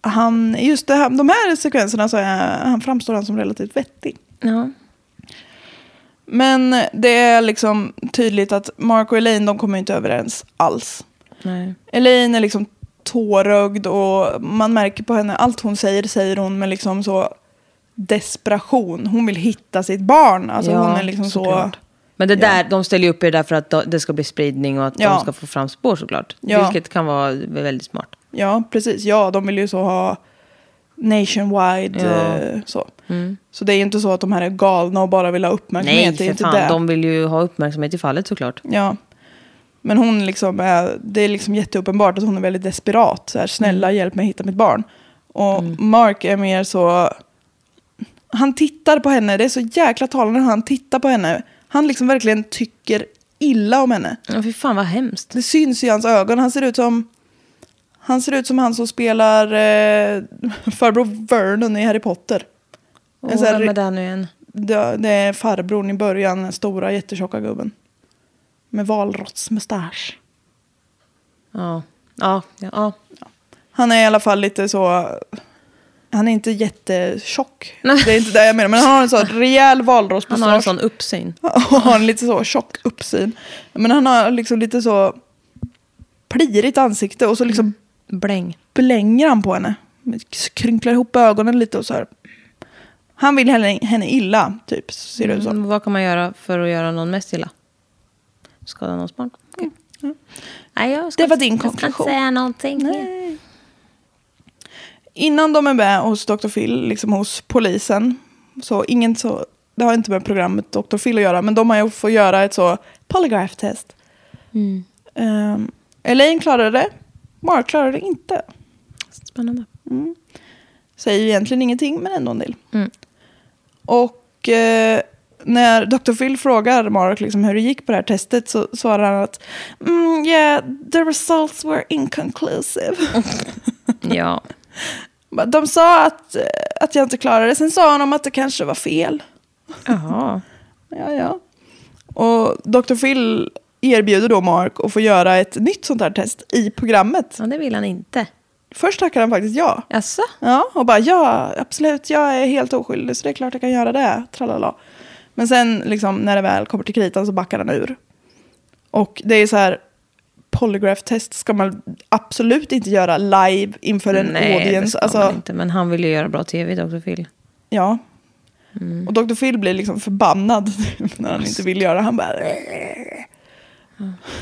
han, just det här, de här sekvenserna så är, han framstår han som relativt vettig. Ja. Men det är liksom tydligt att Mark och Elaine de kommer inte överens alls. Nej. Elaine är liksom tårögd och man märker på henne, allt hon säger säger hon med liksom så desperation. Hon vill hitta sitt barn. Alltså Ja, hon är liksom så... såklart. Men det där, de ställer ju upp det där för att då- det ska bli spridning och att Ja. de ska få fram spår såklart. Ja. Vilket kan vara väldigt smart. Ja, precis. Ja, de vill ju så ha nationwide Ja. Mm. eh, så. Så det är ju inte så att de här är galna och bara vill ha uppmärksamhet. Nej, det är för inte fan. det. De vill ju ha uppmärksamhet i fallet såklart. Ja. Men hon liksom är, det är liksom jätteuppenbart att hon är väldigt desperat. Så här, snälla Mm. hjälp mig hitta mitt barn. Och Mark är mer så, han tittar på henne, det är så jäkla talande hur han tittar på henne. Han liksom verkligen tycker illa om henne. Ja, fy fan vad hemskt. Det syns i hans ögon. Han ser ut som han ser ut som han som spelar eh, <laughs> farbror Vernon i Harry Potter. Och En sån här vem är ri- där nu igen? Det, det är farbrorn i början, den stora jättetjocka gubben. Med valrotsmustasch. Ja, ja, ja. ja. Han är i alla fall lite så... Han är inte jättetjock. Det är inte det jag menar. Men han har en sån rejäl Han har en valrotsmustasch. sån uppsyn. <laughs> Och har en lite så tjock uppsyn. Men han har liksom lite så plirigt ansikte och så liksom Mm. Bläng. blänger han på henne. Krynklar ihop ögonen lite och så här. Han vill henne, henne illa, typ. Ser det ut som. Mm, vad kan man göra för att göra någon mest illa? Skada någons barn? Okej. Nej, jag ska Det var inte- din Jag ska konklusion. inte säga någonting. Innan de är med hos Dr. Phil, liksom hos polisen. Så ingen så... Det har inte med programmet Dr. Phil att göra, men de har ju fått göra ett så polygraph test. Ehm, Elaine klarade det. Mark klarade det inte. Spännande. Säger ju egentligen ingenting, men ändå en del. Mm. Och eh, när Dr. Phil frågar Mark liksom hur det gick på det här testet så svarar han att mm, yeah, the results were inconclusive. Ja. De sa att, eh, att jag inte klarade det, sen sa han om att det kanske var fel. <laughs> Jaha. Ja, ja. Och Dr. Phil erbjuder då Mark att få göra ett nytt sånt här test i programmet. Ja, det vill han inte. Först tackar han faktiskt ja. Jaså? Ja, och bara ja, absolut, jag är helt oskyldig så det är klart jag kan göra det. Tralala. Men sen liksom, när det väl kommer till kritan så backar han ur. Och det är så här, polygraph-test ska man absolut inte göra live inför en Nej, det audience. ska Alltså, man inte. Men han vill ju göra bra tv, Dr. Phil. Ja. Mm. Och Dr. Phil blir liksom förbannad <laughs> när han inte vill göra det. Han bara...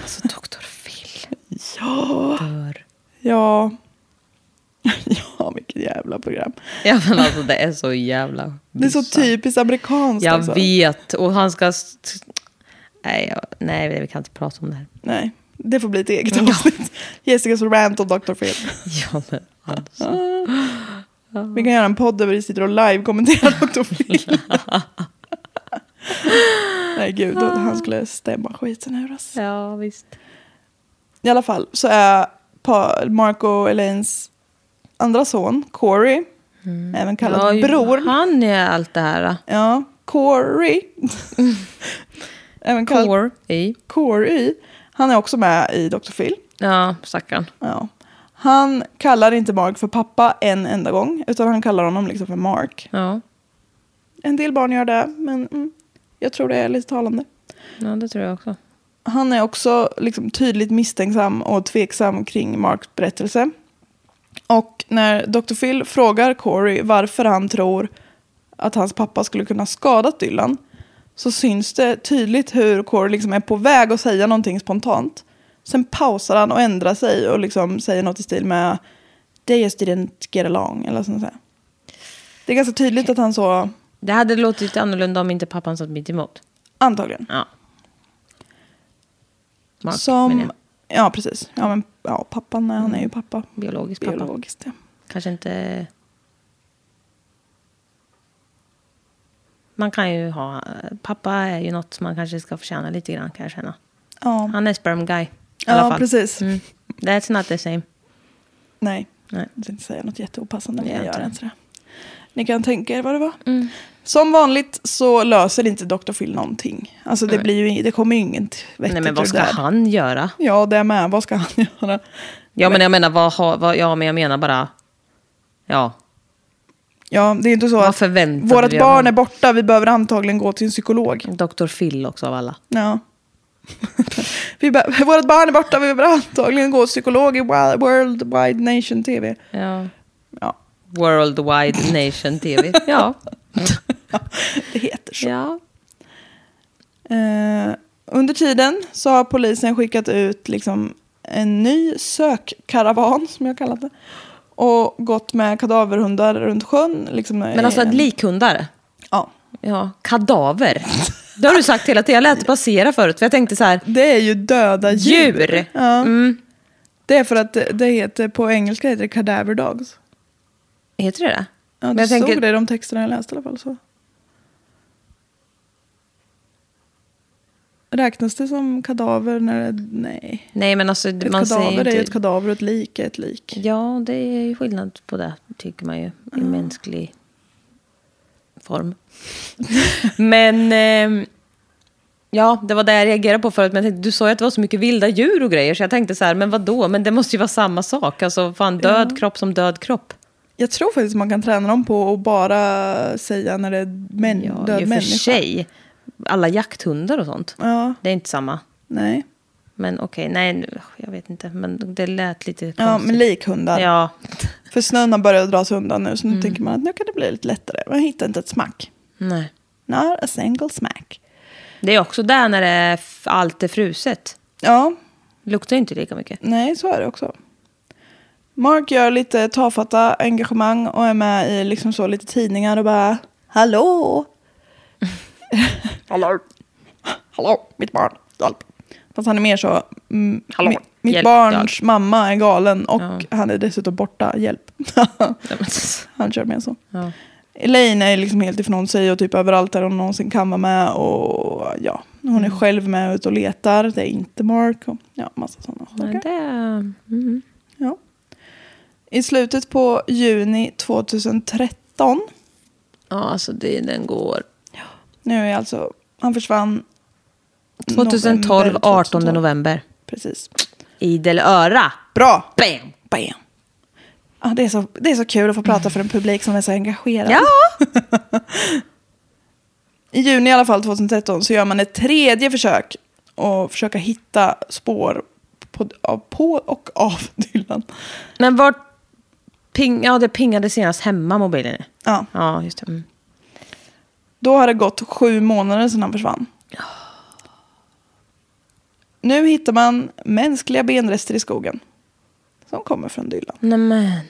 Alltså, Dr. Phil. Ja, Dör. ja. <laughs> Ja, vilket jävla program. Ja, <laughs> men alltså det är så alltså. jävla... Det är så bisarrt. typiskt amerikanskt alltså. Jag också. vet. Och han ska... st- Nej, jag... Nej, vi kan inte prata om det här. Nej. Det får bli ett eget avsnitt. Jessicas rant om Dr. Phil. Ja, men, alltså. Ah. Vi kan göra en podd där vi sitter och <laughs> live-kommenterar Dr. Phil. Nej gud, han skulle stämma skiten ur oss. ja visst. I alla fall så är pa- Marco Elaines andra son, Corey, även kallad Mm. Ja, Bror. Han är allt det här. Ja, <laughs> Corey. även kallad Core i. Corey. Han är också med i Dr. Phil. Ja, stackarn. Ja. Han kallar inte Mark för pappa en enda gång, utan han kallar honom liksom för Mark. Ja. En del barn gör det, men mm, jag tror det är lite talande. ja, det tror jag också. Han är också liksom tydligt misstänksam och tveksam kring Marks berättelse. Och när Dr. Phil frågar Corey varför han tror att hans pappa skulle kunna skadat Dylan så syns det tydligt hur Corey liksom är på väg att säga någonting spontant. Sen pausar han och ändrar sig och liksom säger något i stil med They just didn't get along eller sånt där. Det är ganska tydligt att han så, Det hade låtit annorlunda om inte pappan satt mitt emot. antagligen. Ja. Mark, menar som, jag. Mm. ja precis. Ja, men, ja, pappan, nej, han är ju pappa. Biologisk pappa. Biologiskt, ja. Kanske inte... Man kan ju ha... Pappa är ju något som man kanske ska förtjäna lite grann, kan jag känna. Ja, Han är sperm guy. I alla ja fall. precis. Mm. That's not the same. Nej, Nej. jag tänkte säga något jätteopassande, men Det gör jag gör inte. inte Mm. det. Ni kan tänka er vad det var. Som vanligt så löser inte Dr. Phil någonting. Alltså det, blir ju, det kommer ju inget vettigt Nej, men vad ur ska det där. han göra? Ja, det är med. Vad ska han <laughs> göra? Ja, men jag menar, vad, har- vad, ja, men jag menar bara... Ja, Ja, det är inte så Vad att förväntade vårt vi av barn honom? är borta, vi behöver antagligen gå till en psykolog. Dr. Phil också av alla. Ja. <laughs> vi be- vårt barn är borta, vi behöver antagligen gå till psykolog i Wi- World Wide Nation TV. Ja. Ja, Worldwide Nation <laughs> TV. Ja. det heter så. ja. Eh, under tiden så har polisen skickat ut liksom en ny sökkaravan, som jag kallat det. Och gått med kadaverhundar runt sjön. Liksom, Men alltså att likhundar. Ja. Ja, kadaver. Det har du sagt hela tiden. Jag lät det passera förut. För jag tänkte så här, Det är ju döda djur. djur. Ja. Mm. Det är för att det- det heter, på engelska heter det cadaver dogs. Heter det det? Ja, det Men jag stod tänker- det i de texterna jag läste i alla fall. Så. Räknas det som kadaver när det... Nej. Nej, men alltså Ett man säger kadaver ju är ju inte... ett kadaver och ett lik är ett lik. Ja, det är ju skillnad på det, tycker man ju. I Mm. mänsklig <laughs> form. men... ehm, ja, det var det jag reagerade på förut. Men jag tänkte, du sa ju att det var så mycket vilda djur och grejer. Så jag tänkte så här, men vad då? Men det måste ju vara samma sak. Alltså, fan, död kropp som död kropp. Jag tror faktiskt man kan träna dem på att bara säga när det är män, Ja, död ju för människa. sig. Alla jakthundar och sånt. Ja, Det är inte samma. nej. Men okej, nej, nu- jag vet inte. Men det lät lite konstigt. Ja, men likhundar. Ja, Mm. För snön har börjat dra sig undan nu så nu tänker man att nu kan det bli lite lättare. Man hittar inte ett smack. nej. Not a single smack. Det är också där när det är f- allt är fruset. Ja, Luktar ju inte lika mycket. nej så är det också. Mark gör lite tafatta engagemang och är med i liksom så lite tidningar och bara <laughs> Hallå! Hallå! Hallå, mitt barn! Hjälp! Fast han är mer så, mm, Hallå, mi- mitt hjälp, barns hjälp. mamma är galen och Ja. han är dessutom borta, hjälp. Ja, men- <laughs> han kör med så. Ja. Elaine är liksom helt ifrån sig och typ överallt där hon någonsin kan vara med. Och ja, hon är Mm. själv med ute och letar. Det är inte Mark. Och, ja, massa sådana Men saker. det, mm. Ja. I slutet på juni 2013. Ja, alltså det, den går. Nu är alltså, han försvann. 2012, november 18 november. Precis. Idel öra. Bra! Bam! Bam! Ah, det, är så, det är så kul att få prata för en publik som är så engagerad. Ja! I juni i alla fall 2013 så gör man ett tredje försök att försöka hitta spår på, av, på och av Dylan. <laughs> Men vart... Ping, ja, det pingade senast hemma, mobilen. Ja, Ja, just det. Mm. då har det gått sju månader sedan han försvann. Nu hittar man mänskliga benrester i skogen som kommer från Dylan. Nämen.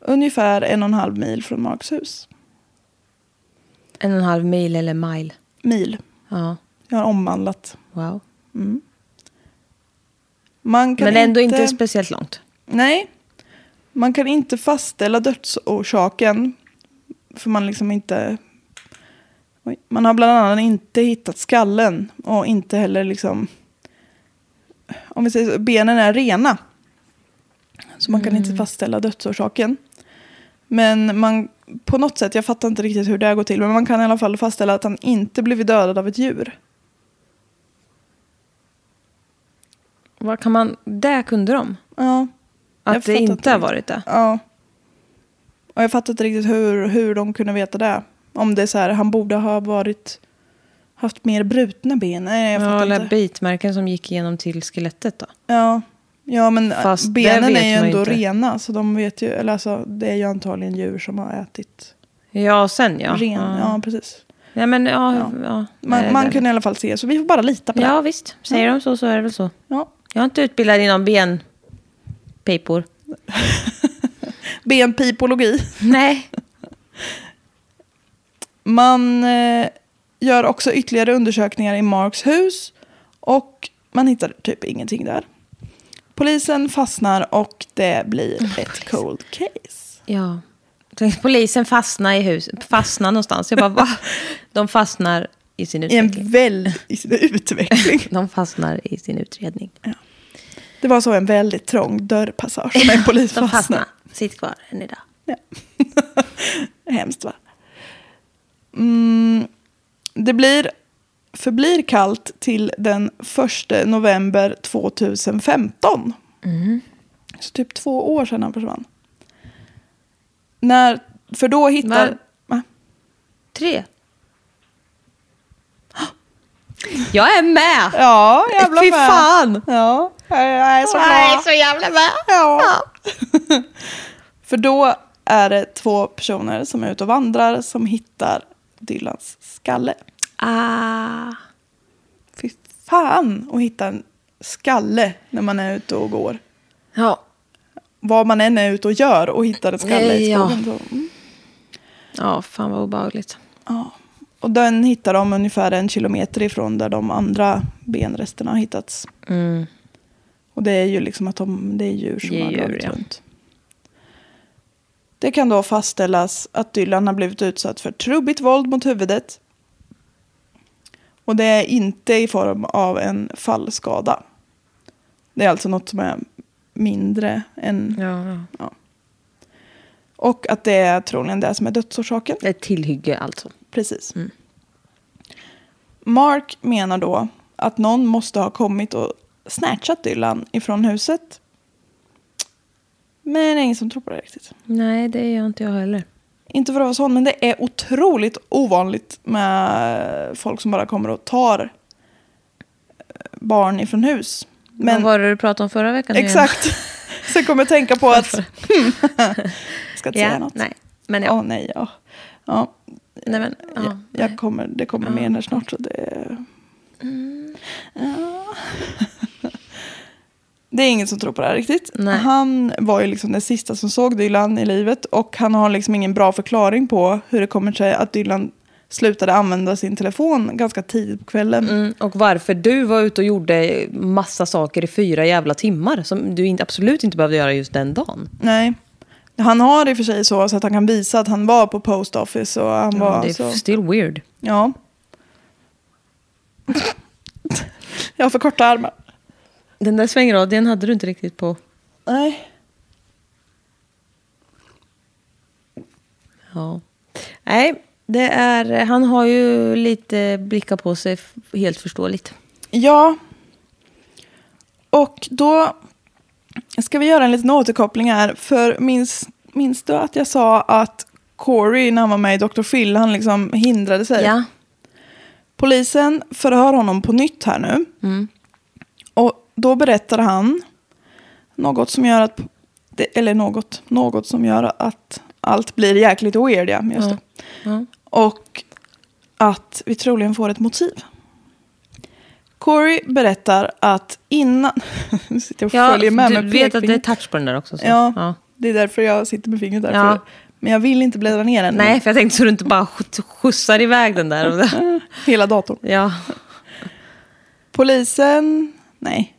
Ungefär en och en halv mil från Marks hus. En och en halv mil eller mile. Mil. Ja, Jag har omvandlat. wow. Man kan Men ändå inte speciellt långt. Nej. Man kan inte fastställa dödsorsaken. För man liksom inte... Oj. Man har bland annat inte hittat skallen. Och inte heller liksom... Om vi säger så, benen är rena. Så man kan inte fastställa dödsorsaken. Men man, på något sätt, jag fattar inte riktigt hur det här går till. Men man kan i alla fall fastställa att han inte blivit dödad av ett djur. Vad kan man... Det kunde de. Ja. Jag Att det fattar inte inte har riktigt. varit det. Ja. Och jag fattar inte riktigt hur, hur de kunde veta det. Om det är så här, han borde ha varit haft mer brutna ben. Nej, jag Ja, fattar eller inte. bitmärken som gick igenom till skelettet då. ja. ja, men äh, Fast det benen vet är ju man ju ändå inte. rena. Så de vet ju, eller alltså, det är ju antagligen djur som har ätit Ja, sen ja. ren. ja. Ja, precis. Nej, men ja. ja. Man, Nej, man det- kunde i alla fall se, så vi får bara lita på Ja, det. visst. Säger de så så är det väl så. Ja. Jag är inte utbildad inom benpipor. Benpipologi. <laughs> Nej. Man eh, gör också ytterligare undersökningar i Marks hus och man hittar typ ingenting där. Polisen fastnar och det blir ett cold case. Ja. Tänkte Polisen fastnar i huset. Fastnar någonstans. Jag bara, va? <laughs> De fastnar i sin I en utredning. väldigt utveckling. De fastnar i sin utredning. Det var så en väldigt trång dörrpassage med en polis De fastnade. fastnar. Sitt kvar än idag. Ja. Hemskt va? Mm, det blir, förblir kallt till den 1 november 2015. Mm. Så typ två år sedan han försvann. När, för då hittar... Var- Va? <gasps> Tre. Jag är med! Ja, jävla Fy med. fan! Ja, jag jag är så Jag är glad. så jävla med! Ja. <laughs> För då är det två personer som är ute och vandrar som hittar Dylans skalle. Ah. Fy fan att hitta en skalle när man är ute och går. Ja. Vad man än är ute och gör och hittar en skalle i Ja. skogen. Så, mm. Ja, fan vad obehagligt. Och den hittar de ungefär en kilometer ifrån där de andra benresterna har hittats. Och det är ju liksom att de, det är djur som Mm. Det är har djur, rört ja. runt. Det kan då fastställas att Dylan har blivit utsatt för trubbigt våld mot huvudet. Och det är inte i form av en fallskada. Det är alltså något som är mindre än... Ja, ja. Och att det är troligen det som är dödsorsaken. Ett tillhygge alltså. Precis. Mark menar då att någon måste ha kommit och snatchat Dylan ifrån huset. Men det är ingen som tror på det riktigt. Nej, det gör inte jag heller. Inte för att vara sån, men det är otroligt ovanligt med folk som bara kommer och tar eh, barn ifrån hus. Men, Men vad var det du pratade om förra veckan? nu igen? exakt. <laughs> Sen kommer jag tänka på att... <laughs> ska inte säga Ja, något. nej. Men Åh ja. nej, ja. ja. Nej, men, ja. Jag, jag kommer, det kommer mer när snart. Så det... Mm. Ja. det är ingen som tror på det här riktigt. Nej. Han var ju liksom den sista som såg Dylan i livet och han har liksom ingen bra förklaring på hur det kommer sig att Dylan slutade använda sin telefon ganska tidigt på kvällen. Mm, och varför du var ute och gjorde massa saker i fyra jävla timmar som du inte, absolut inte behövde göra just den dagen. Nej. Han har i och för sig så, så att han kan visa att han var på post office och han var Mm, det är så. still weird. Ja. <laughs> jag har för korta armar. Den där svängradien hade du inte riktigt på. Nej. Ja. Nej, det är, han har ju lite blickar på sig, f- helt förståeligt. Ja. Och då ska vi göra en liten återkoppling här. För minns, minns du att jag sa att Corey, när han var med i Dr. Phil, han liksom hindrade sig? Ja. Polisen förhör honom på nytt här nu. Mm. Och då berättar han något som gör att... det- Eller något. Något som gör att allt blir jäkligt weird, ja. Just det. Och att vi troligen får ett motiv. Corey berättar att innan... <laughs> nu sitter jag och Ja, följer med du med vet att det är pekfingret. touch på den där också. Så. Ja, Ja. det är därför jag sitter med fingret där. Ja. Men jag vill inte bläddra ner den. Nej, för jag tänkte så du inte bara skjuts- skjutsar iväg den där. Och <laughs> där. Hela datorn. Ja. Polisen... Nej.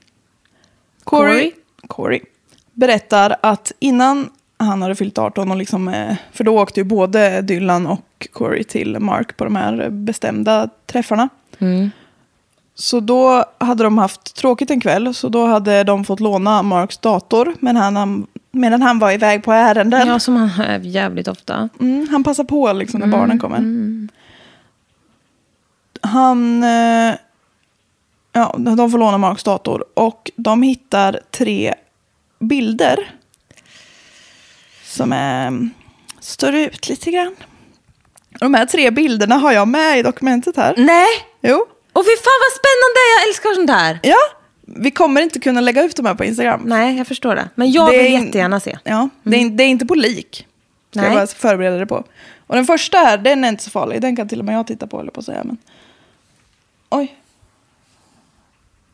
Corey, Corey? Corey berättar att innan han hade fyllt 18, och liksom, eh, för då åkte ju både Dylan och Corey till Mark på de här bestämda träffarna. Mm. Så då hade de haft tråkigt en kväll, så då hade de fått låna Marks dator men han- han, medan han var iväg på ärenden. Ja, som han är jävligt ofta. Mm, han passar på liksom när barnen kommer. Han... eh, Ja, de får låna Marks dator och de hittar tre bilder som är, mm, står ut lite grann. Och De här tre bilderna har jag med i dokumentet här. Nej! Jo. Och fy fan vad spännande! Jag älskar sånt här. Ja, vi kommer inte kunna lägga ut de här på Instagram. Nej, jag förstår det. Men jag Det vill är- jättegärna se. Mm. Ja, det, är, det är inte på lik. Ska Nej. jag bara förbereda dig på. Och den första här, den är inte så farlig. Den kan till och med jag titta på, eller på att säga. Men... Oj.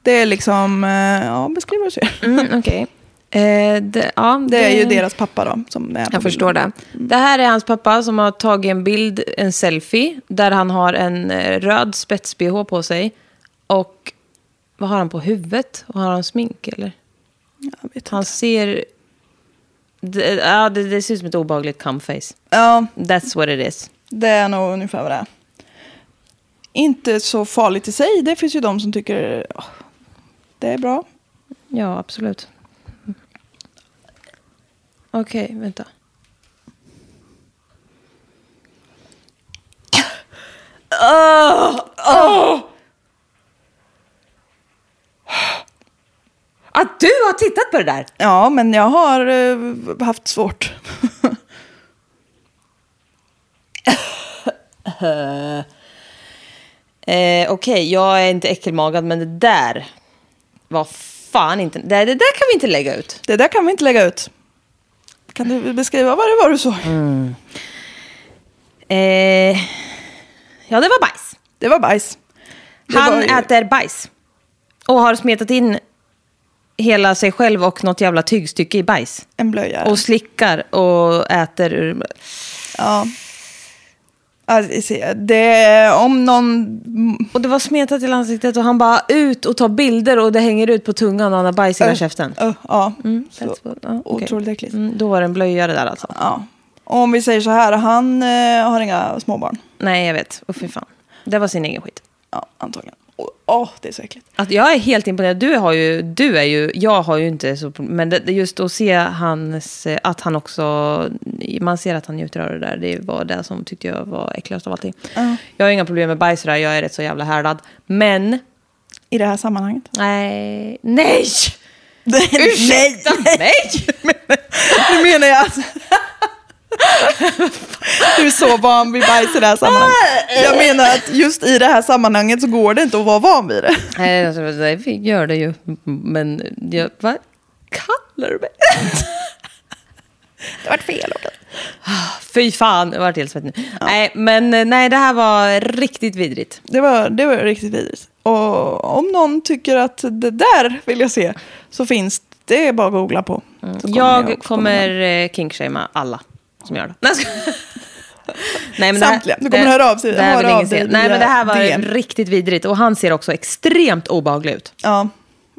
Det är liksom, eh, ja, beskriv vad du ser. Mm, Okej. Eh, det, ja, <laughs> Det är ju deras pappa då. Som är på Jag förstår bilden. det. Det här är hans pappa som har tagit en bild, en selfie, där han har en eh, röd spets-bh på sig. Och vad har han på huvudet? Och har han smink eller? Jag vet inte. Han ser... Det, ja, det, det ser ut som ett obehagligt cumface. Ja, That's what it is. det är nog ungefär vad det är. Inte så farligt i sig. Det finns ju de som tycker åh, det är bra. Ja, absolut. Okej, vänta. Ah! Att du har tittat på det där! Ja, men jag har eh, haft svårt. Eh, Okej, jag är inte äckelmagad, men det där var fan inte... Det, det där kan vi inte lägga ut. Det där kan vi inte lägga ut. Kan du beskriva vad det var du såg? Eh, ja, det var bajs. Det var bajs. Det var Han ju- äter bajs. Och har smetat in hela sig själv och något jävla tygstycke i bajs. En blöja. Och slickar och äter ur... ja. Alltså, det, om någon... Mm. Och det var smetat i ansiktet och han bara ut och tar bilder och det hänger ut på tungan och han har bajs i hela käften. Ö, ja. Så, That's what- ja, okej. Äh. Alltså, otroligt äckligt. Mm, då var det en blöja det där alltså. Ja. Och om vi säger så här, han eh, har inga småbarn. Nej, jag vet. Och fy fan. Det var sin egen skit. Ja, antagligen. Åh, åh, det är så äckligt. Att jag är helt imponerad. Du, har ju, du är ju... Jag har ju inte så... Men det, det just att se hans... eh, Att han också... Man ser att han njuter av det där. Det var det som tyckte jag var äckligast av allting. Jag har inga problem med bajs och det där. Jag är rätt så jävla härdad. Men... I det här sammanhanget. <laughs> Nej. Nej! Nej! <laughs> Ursäkta mig! <laughs> Nu menar jag alltså... Du är så van vid bajs i det här sammanhanget. Jag menar att just i det här sammanhanget så går det inte att vara van vid det. Nej, alltså, det fick- gör det ju. Men jag, vad kallar du mig? <laughs> Det vart fel. Håkan. Fy fan, jag vart helt svettig nu. Nej, men eh, nej, det här var riktigt vidrigt. Det var, det var riktigt vidrigt. Och om någon tycker att det där vill jag se så finns det är bara att googla på. Så kommer Mm. jag jag kommer eh, kinkshama alla som gör det. Nej, jag <laughs> skojar. Nej, Samtliga. Du kommer höra av sig- Det här höra vill ingen av dig se. Nej, via men det här var DM. riktigt vidrigt. Och han ser också extremt obehaglig ut. Ja.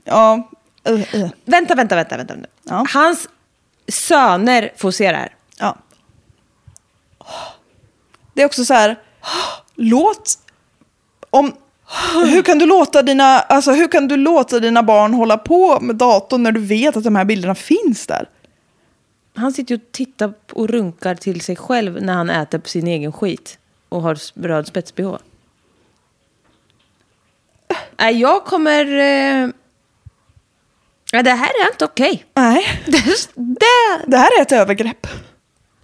Ja. Uh, uh. Vänta, vänta, vänta. vänta. vänta. Ja. Hans söner får se det här. ja. Det är också så här, låt... Om, hur, kan du låta dina, alltså, hur kan du låta dina barn hålla på med datorn när du vet att de här bilderna finns där? Han sitter ju och tittar p- och runkar till sig själv när han äter på sin egen skit. Och har s- röd spets-bh. Nej, jag kommer... Eh... Ja, det här är <laughs> inte okej. Nej, <laughs> Det- Det... det här är ett övergrepp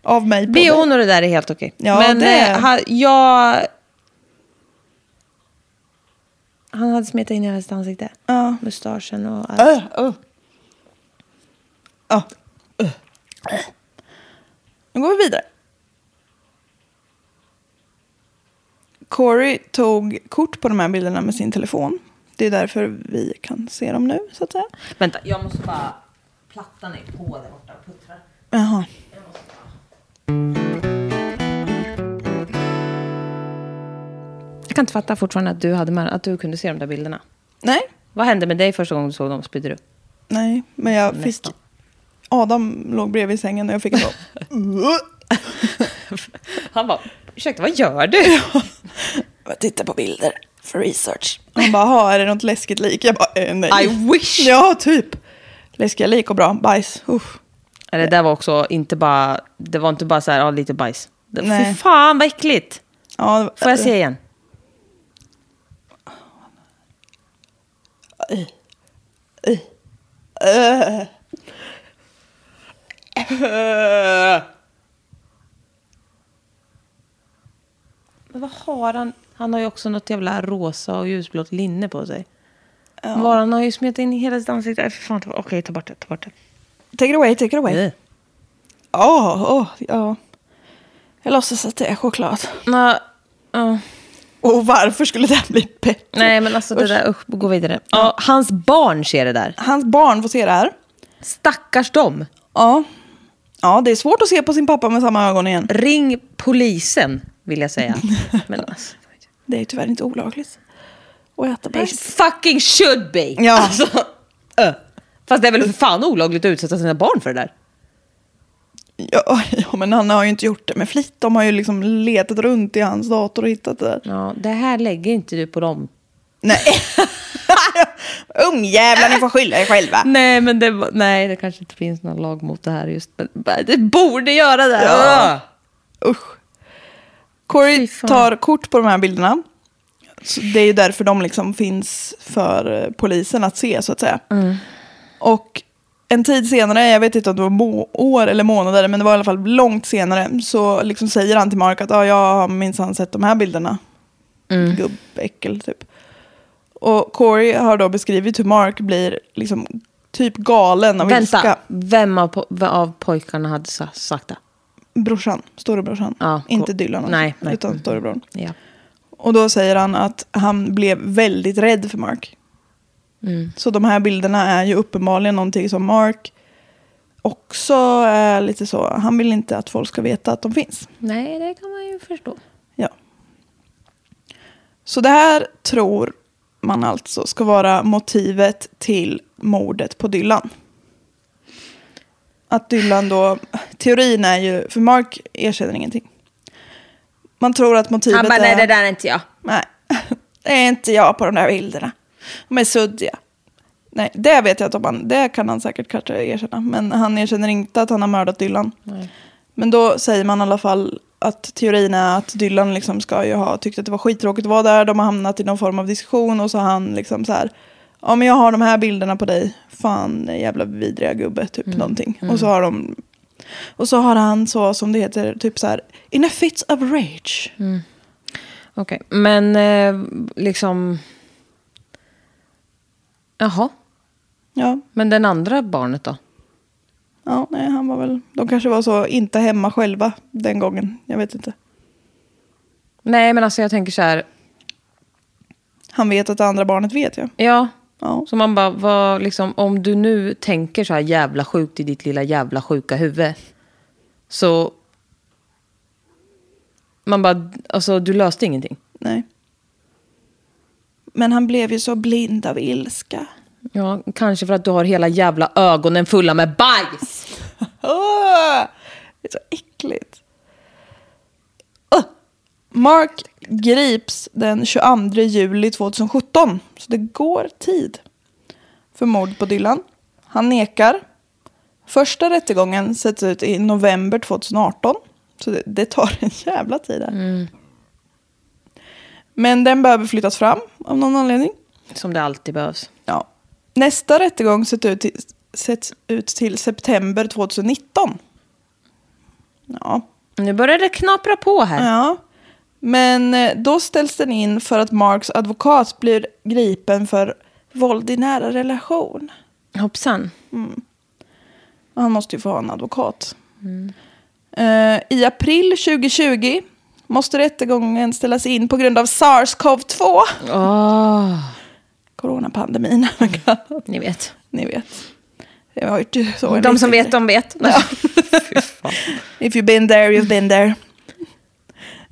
av mig. på dig. Bhn och det E där är helt okej. Ja, Men det- eh, han, jag... Han hade smetat in hela sitt ansikte. Ja. Mustaschen och allt. Uh, uh. Uh. Nu går vi vidare. Corey tog kort på de här bilderna med sin telefon. Det är därför vi kan se dem nu, så att säga. Vänta, jag måste bara... Plattan är på där borta och puttrar. Jaha. Jag kan inte fatta fortfarande att du, hade med, att du kunde se de där bilderna. Nej, Vad hände med dig första gången du såg dem? Spydde du? Nej, men jag fick... Nästan. Adam låg bredvid sängen och jag fick en <laughs> sån- Han bara, ursäkta vad <laughs> gör du? Jag tittar på bilder för research. Han bara, "Ha, är det något läskigt lik? Jag bara, eh, nej. I wish. Ja, typ. Läskiga lik och bra bajs. Usch. Det där var också inte bara, det var inte bara så här, ja, lite bajs. Det, fy Nej. fan vad äckligt. Ja, det var- Får jag se igen? Men vad har han? Han har ju också något jävla rosa och ljusblått linne på sig. Var han har ju smetat in i hela sitt ansikte. Nej, fy fan, ta- okej, ta bort det, ta bort det. Take it away, take it Mm. away. Åh, åh, ja. Jag låtsas att det är choklad. Nå, ja. Och varför skulle det här bli bättre? nej, men alltså det Usch. där, usch, gå vidare. Ja, hans barn ser det där. Hans barn får se det här. Stackars dem. Ja. Ja, det är svårt att se på sin pappa med samma ögon igen. Ring polisen, vill jag <laughs> säga. Men alltså, Det är ju tyvärr inte olagligt. Och äta they bajs. fucking should be. Ja. Alltså, ö. Fast det är väl för fan olagligt att utsätta sina barn för det där. Ja, ja, men han har ju inte gjort det med flit. De har ju liksom letat runt i hans dator och hittat det där. Ja, det här lägger inte du på dem. Nej. Ungjävlar, ni får skylla er själva. Ah. Nej, men det, var- nej, det kanske inte finns någon lag mot det här just. men Det borde göra det. Ja. Ö. Usch. Corey Fy fan. tar kort på de här bilderna. Så det är ju därför de liksom finns för eh, polisen att se så att säga. Mm. Och en tid senare, jag vet inte om det var må- år eller månader, men det var i alla fall långt senare, så liksom säger han till Mark att ah, jag har minsann sett de här bilderna. Mm. Gubbäckel typ. Och Corey har då beskrivit hur Mark blir liksom typ galen av ilska. Vänta, vem av, po- vem av pojkarna hade sa- sagt det? Brorsan, storebrorsan. Ja, inte cool. Dylan, alltså, Nej, nej. utan Mm. storebrorn. Ja. Och då säger han att han blev väldigt rädd för Mark. Mm. Så de här bilderna är ju uppenbarligen någonting som Mark också är lite så. Han vill inte att folk ska veta att de finns. Nej, det kan man ju förstå. Ja. Så det här tror man alltså ska vara motivet till mordet på Dylan. Att Dylan då, teorin är ju, för Mark erkänner ingenting. Man tror att motivet Han bara, är... nej, det där är inte jag. Nej, <laughs> det är inte jag på de där bilderna. De är suddiga. Nej, det vet jag att om han, det kan han säkert kanske erkänna. Men han erkänner inte att han har mördat Dylan. Men då säger man i alla fall att teorin är att Dylan liksom ska ju ha tyckt att det var skittråkigt att vara där. De har hamnat i någon form av diskussion och så har han liksom så här. Ja men jag har de här bilderna på dig. Fan jävla vidriga gubbe typ någonting. Och så har de. Och så har han så som det heter typ så här. In a fit of rage. Okej, men eh, liksom... Jaha, Ja. men den andra barnet då? Ja, nej, han var väl... De kanske var så inte hemma själva den gången. Jag vet inte. Nej, men alltså jag tänker så här, Han vet att det andra barnet vet, ja. ja. Ja, Så man bara, vad, liksom, om du nu tänker så här jävla sjukt i ditt lilla jävla sjuka huvud, så... Man bara, alltså du löste ingenting. nej. Men han blev ju så blind av ilska. Ja, kanske för att du har hela jävla ögonen fulla med bajs. Åh! Det är så äckligt. Åh! Mark grips den 22 juli 2017. Så det går tid för mord på Dylan. Han nekar. Första rättegången sätts ut i november 2018. Så det, det tar en jävla tid där. Men den behöver flyttas fram av någon anledning. Som det alltid behövs. Ja. Nästa rättegång sätts ut till, sätts ut till september 2019. Ja. Nu börjar det knapra på här. ja. Men eh, då ställs den in för att Marks advokat blir gripen för våld i nära relation. Hoppsan. Och Han måste ju få ha en advokat. Eh, I april 2020 måste rättegången ställas in på grund av sars-cov-2. Åh, Coronapandemin, <laughs> vad man kallar det. ni vet. Ni vet. Jag har ju så en De som riktig vet, grej. de vet. Fy fan. If you've been there, you've been there.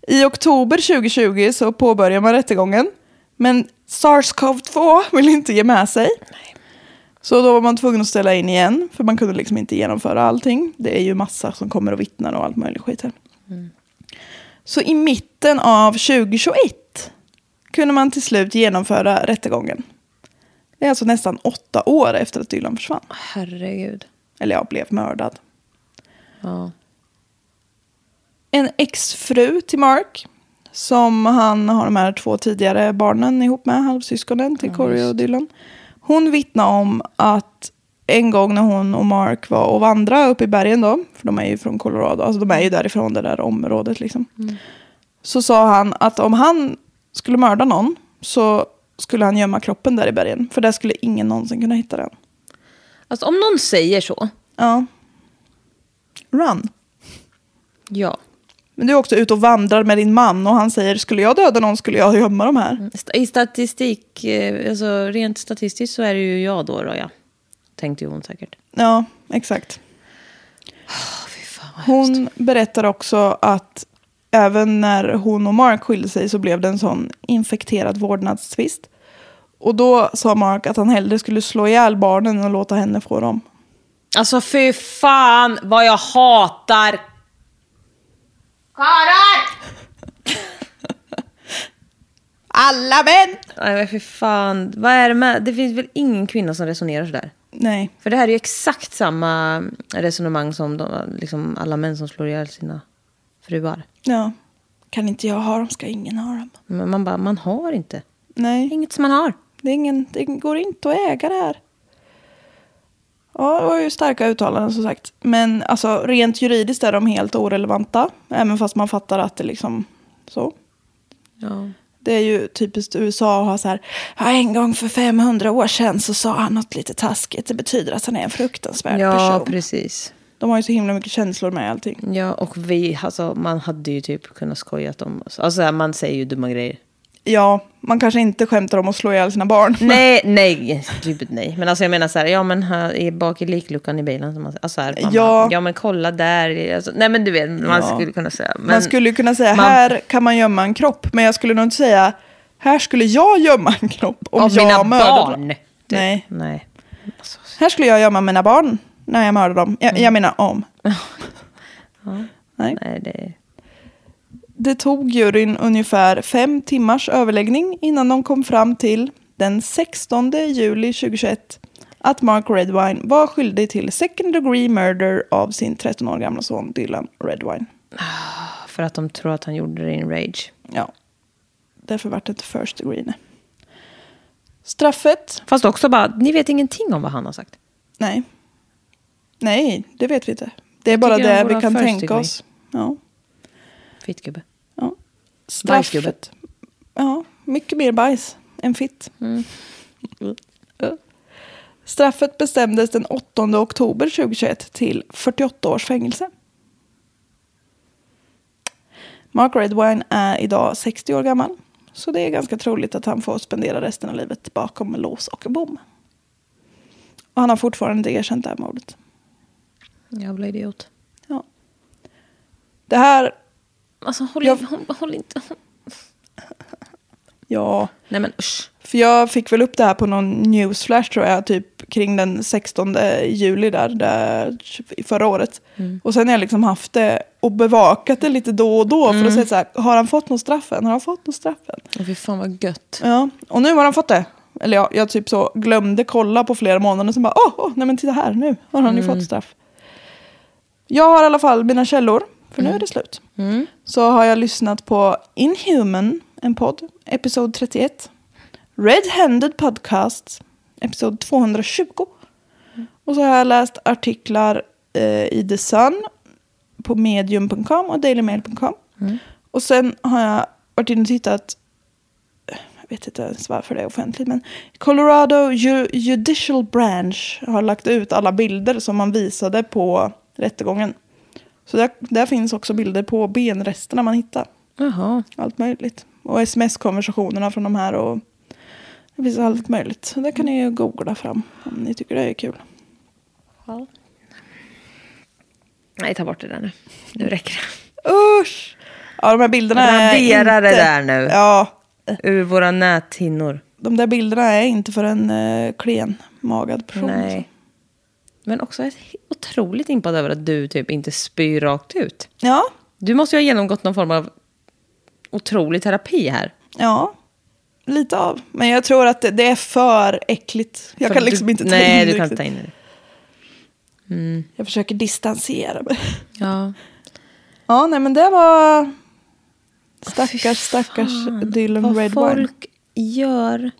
I oktober 2020 så påbörjar man rättegången. Men SARS-CoV-2 vill inte ge med sig. Så då var man tvungen att ställa in igen, för man kunde liksom inte genomföra allting. Det är ju massa som kommer och vittnar och allt möjligt skit här. Mm. Så i mitten av 2021 kunde man till slut genomföra rättegången. Det är alltså nästan åtta år efter att Dylan försvann. <laughs> Herregud. Eller jag blev mördad. Ja. en exfru till Mark. Som han har de här två tidigare barnen ihop med, halvsyskonen till Corey och Dylan. Hon vittnade om att en gång när hon och Mark var och vandrade uppe i bergen då, för de är ju från Colorado, alltså de är ju därifrån det där området liksom. Så sa han att om han skulle mörda någon så skulle han gömma kroppen där i bergen, för där skulle ingen någonsin kunna hitta den. Alltså om någon säger så. Ja. Run. Ja. Men du är också ute och vandrar med din man och han säger skulle jag döda någon skulle jag gömma de här. St- I statistik, eh, alltså rent statistiskt så är det ju jag då, då ja. Tänkte ju hon säkert. Ja, exakt. Ah, Fan, vad hemskt. Hon berättar också att även när hon och Mark skilde sig så blev det en sån infekterad vårdnadstvist. Och då sa Mark att han hellre skulle slå ihjäl barnen än att låta henne få dem. Alltså fy fan vad jag hatar <laughs> Alla män! Nej men för fan, vad är det med? Det finns väl ingen kvinna som resonerar sådär? Nej, För det här är ju exakt samma resonemang som de, liksom alla män som slår ihjäl sina fruar. ja. Kan inte jag ha dem ska ingen ha dem. Men man bara, man har inte. Det är Nej, inget som man har. det, är ingen, det går inte att äga det här. Ja, det var ju starka uttalanden som sagt. Men alltså, rent juridiskt är de helt orelevanta. Även fast man fattar att det liksom så. Ja. Det är ju typiskt USA att ha så här, "Ja, en gång för 500 år sedan så sa han något lite taskigt. Det betyder att han är en fruktansvärd ja, person. precis. De har ju så himla mycket känslor med allting. Ja, och vi, alltså man hade ju typ kunnat skojat om oss. Alltså så här, man säger ju <laughs> dumma grejer. Ja, man kanske inte skämtar om att slå ihjäl sina barn. Nej, nej, typ nej. Men alltså jag menar så här, ja men här är bak i likluckan i bilen. Som man, säger. alltså så här, man Ja. bara, ja men kolla där. Alltså, nej men du vet, man Ja. skulle kunna säga. Men, man skulle ju kunna säga, man- här kan man gömma en kropp. Men jag skulle nog inte säga, här skulle jag gömma en kropp om av jag mina mördade barn. dem. Typ. Nej, Nej. Alltså, här skulle jag gömma mina barn när jag mördar dem. Jag, jag menar <laughs> om. Nej. Mm. nej, det... Det tog juryn ungefär fem timmars överläggning innan de kom fram till den 16 juli 2021 att Mark Redwine var skyldig till second degree murder av sin 13 år gamla son Dylan Redwine. För att de tror att han gjorde det i en rage. Ja, därför vart det inte first degree. Nej. Straffet? Fast också bara, ni vet ingenting om vad han har sagt. Nej. Nej, det vet vi inte. Det är bara tycker han det borde vi ha kan first tänka degree. oss. Ja. Fittgubbe. Ja. Bajsgubbe. Straffet. Ja, mycket mer bajs än fitt. Ja. Straffet bestämdes den 8 oktober 2021 till 48 års fängelse. Mark Redwine är idag 60 år gammal. Så det är ganska troligt att han får spendera resten av livet bakom lås och bom. Och han har fortfarande inte erkänt det här mordet. Jävla idiot. Ja. Det här, Alltså håll, Jag- håll, håll inte... ja. Nej men usch. För jag fick väl upp det här på någon newsflash tror jag, typ kring den 16 juli där, där förra året. Och sen har jag liksom haft det och bevakat det lite då och då för att säga så här, har han fått något straff än? Har han fått något straff än? Åh, Fy fan vad gött. Ja, och nu har han fått det. Eller ja, jag typ så glömde kolla på flera månader och sen bara, åh, åh, nej men titta här, nu har han ju fått straff. Jag har i alla fall mina källor, för nu är det slut. Så har jag lyssnat på Inhuman, en podd, episod 31. Red-handed podcast, episod 220. Och så har jag läst artiklar eh, i The Sun på medium.com och dailymail.com. Och sen har jag varit inne och tittat, jag vet inte ens varför det är offentligt, men Colorado Ju- Judicial Branch har lagt ut alla bilder som man visade på rättegången. Så där, där finns också bilder på benresterna man hittar. Jaha. Allt möjligt. Och sms-konversationerna från de här och det finns allt möjligt. Så det kan ni ju googla fram om ni tycker det är kul. Nej, ta bort det där nu. Nu räcker det. Usch! Ja, de här bilderna är Radera inte... det där nu. Ja, Ur våra näthinnor. de där bilderna är inte för en eh, klen magad person. Nej. Men också jag är otroligt impad över att du typ inte spyr rakt ut. Ja, Du måste ju ha genomgått någon form av otrolig terapi här. ja. Lite av. Men jag tror att det, det är för äckligt. Jag För kan du- liksom inte ta Nej, in det du kan inte riktigt. ta in det. Jag försöker distansera mig. Ja. Ja, nej men det var... Fy Stackars, stackars fan, Dylan vad Redwine. folk gör.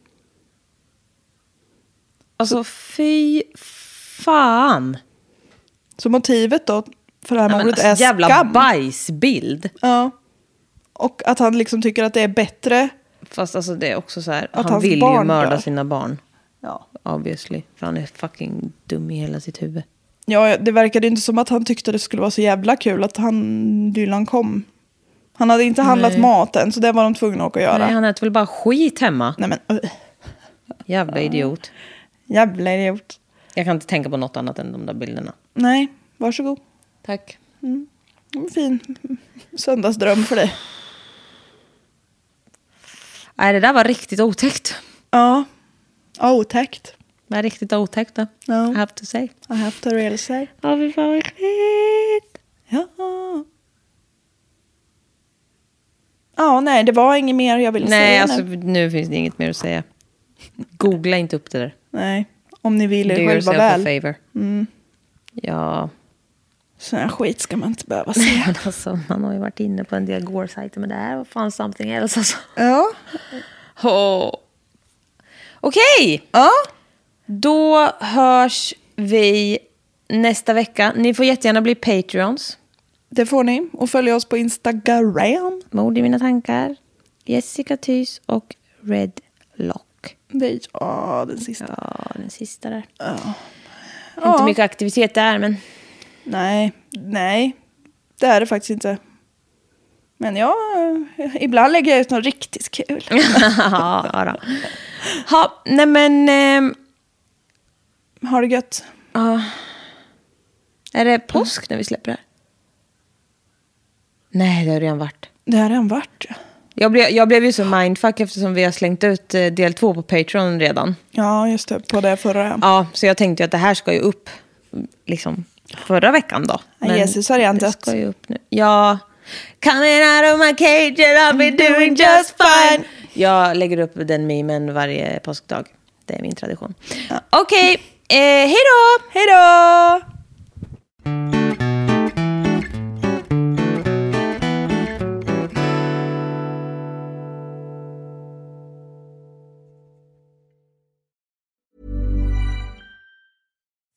Alltså fy fan. Så motivet då för det här Nej, men mordet alltså, är jävla skam. bajsbild. Ja. Och att han liksom tycker att det är bättre. Fast alltså det är också så här, Att han hans vill ju barn mörda dör. sina barn. Ja. Obviously. För han är fucking dum i hela sitt huvud. ja, det verkade inte som att han tyckte det skulle vara så jävla kul att han, Dylan kom. Han hade inte handlat mat än, så det var de tvungna att åka och göra. Nej, han äter väl bara skit hemma. Nej men, uh, Jävla idiot. jävla idiot. Jag kan inte tänka på något annat än de där bilderna. Nej, varsågod. Tack. En fin söndagsdröm för dig. Nej, det där var riktigt otäckt. Ja. Ja, Otäckt. Det var riktigt otäckt då. Ja. I have to say. I have to really say. Ja, fy fan vad äckligt. Ja. Ja, nej, det var inget mer jag ville Nej, säga. alltså nu. nu finns det inget mer att säga. Googla inte upp det där. Nej, om ni vill Do er själva yourself a väl. favor. <laughs> Ja, Sån här skit ska man inte behöva <laughs> säga. men alltså man har ju varit inne på en del gore-sajter, men det här var fan something else alltså. ja. Oh. Okej! ja. Då hörs vi nästa vecka. Ni får jättegärna bli Patreons. Det får ni. Och följ oss på Instagram. Mord i mina tankar. Jessica Thys och Red Lock. Vi, ja, den sista. Ja, den sista där. Inte mycket aktivitet där, men Nej, nej. Det är det faktiskt inte. Men ja, eh, ibland lägger jag ut något riktigt kul. ja, ja då. Ha, nej men, ehm, Ha det gött. är det påsk när vi släpper det här? Nej, det har redan varit. Det här är en vart. Jag blev, jag blev ju så mindfuck eftersom vi har slängt ut eh, del två på Patreon redan. Ja, just det. På det förra. Ja, så jag tänkte ju att det här ska ju upp liksom förra veckan då. Ja, Jesus har redan det dött. ska ju upp nu. Ja. Coming out of my cage and I'll be doing just fine. Jag lägger upp den memen varje påskdag. Det är min tradition. Okej, eh, hej då! Hej då!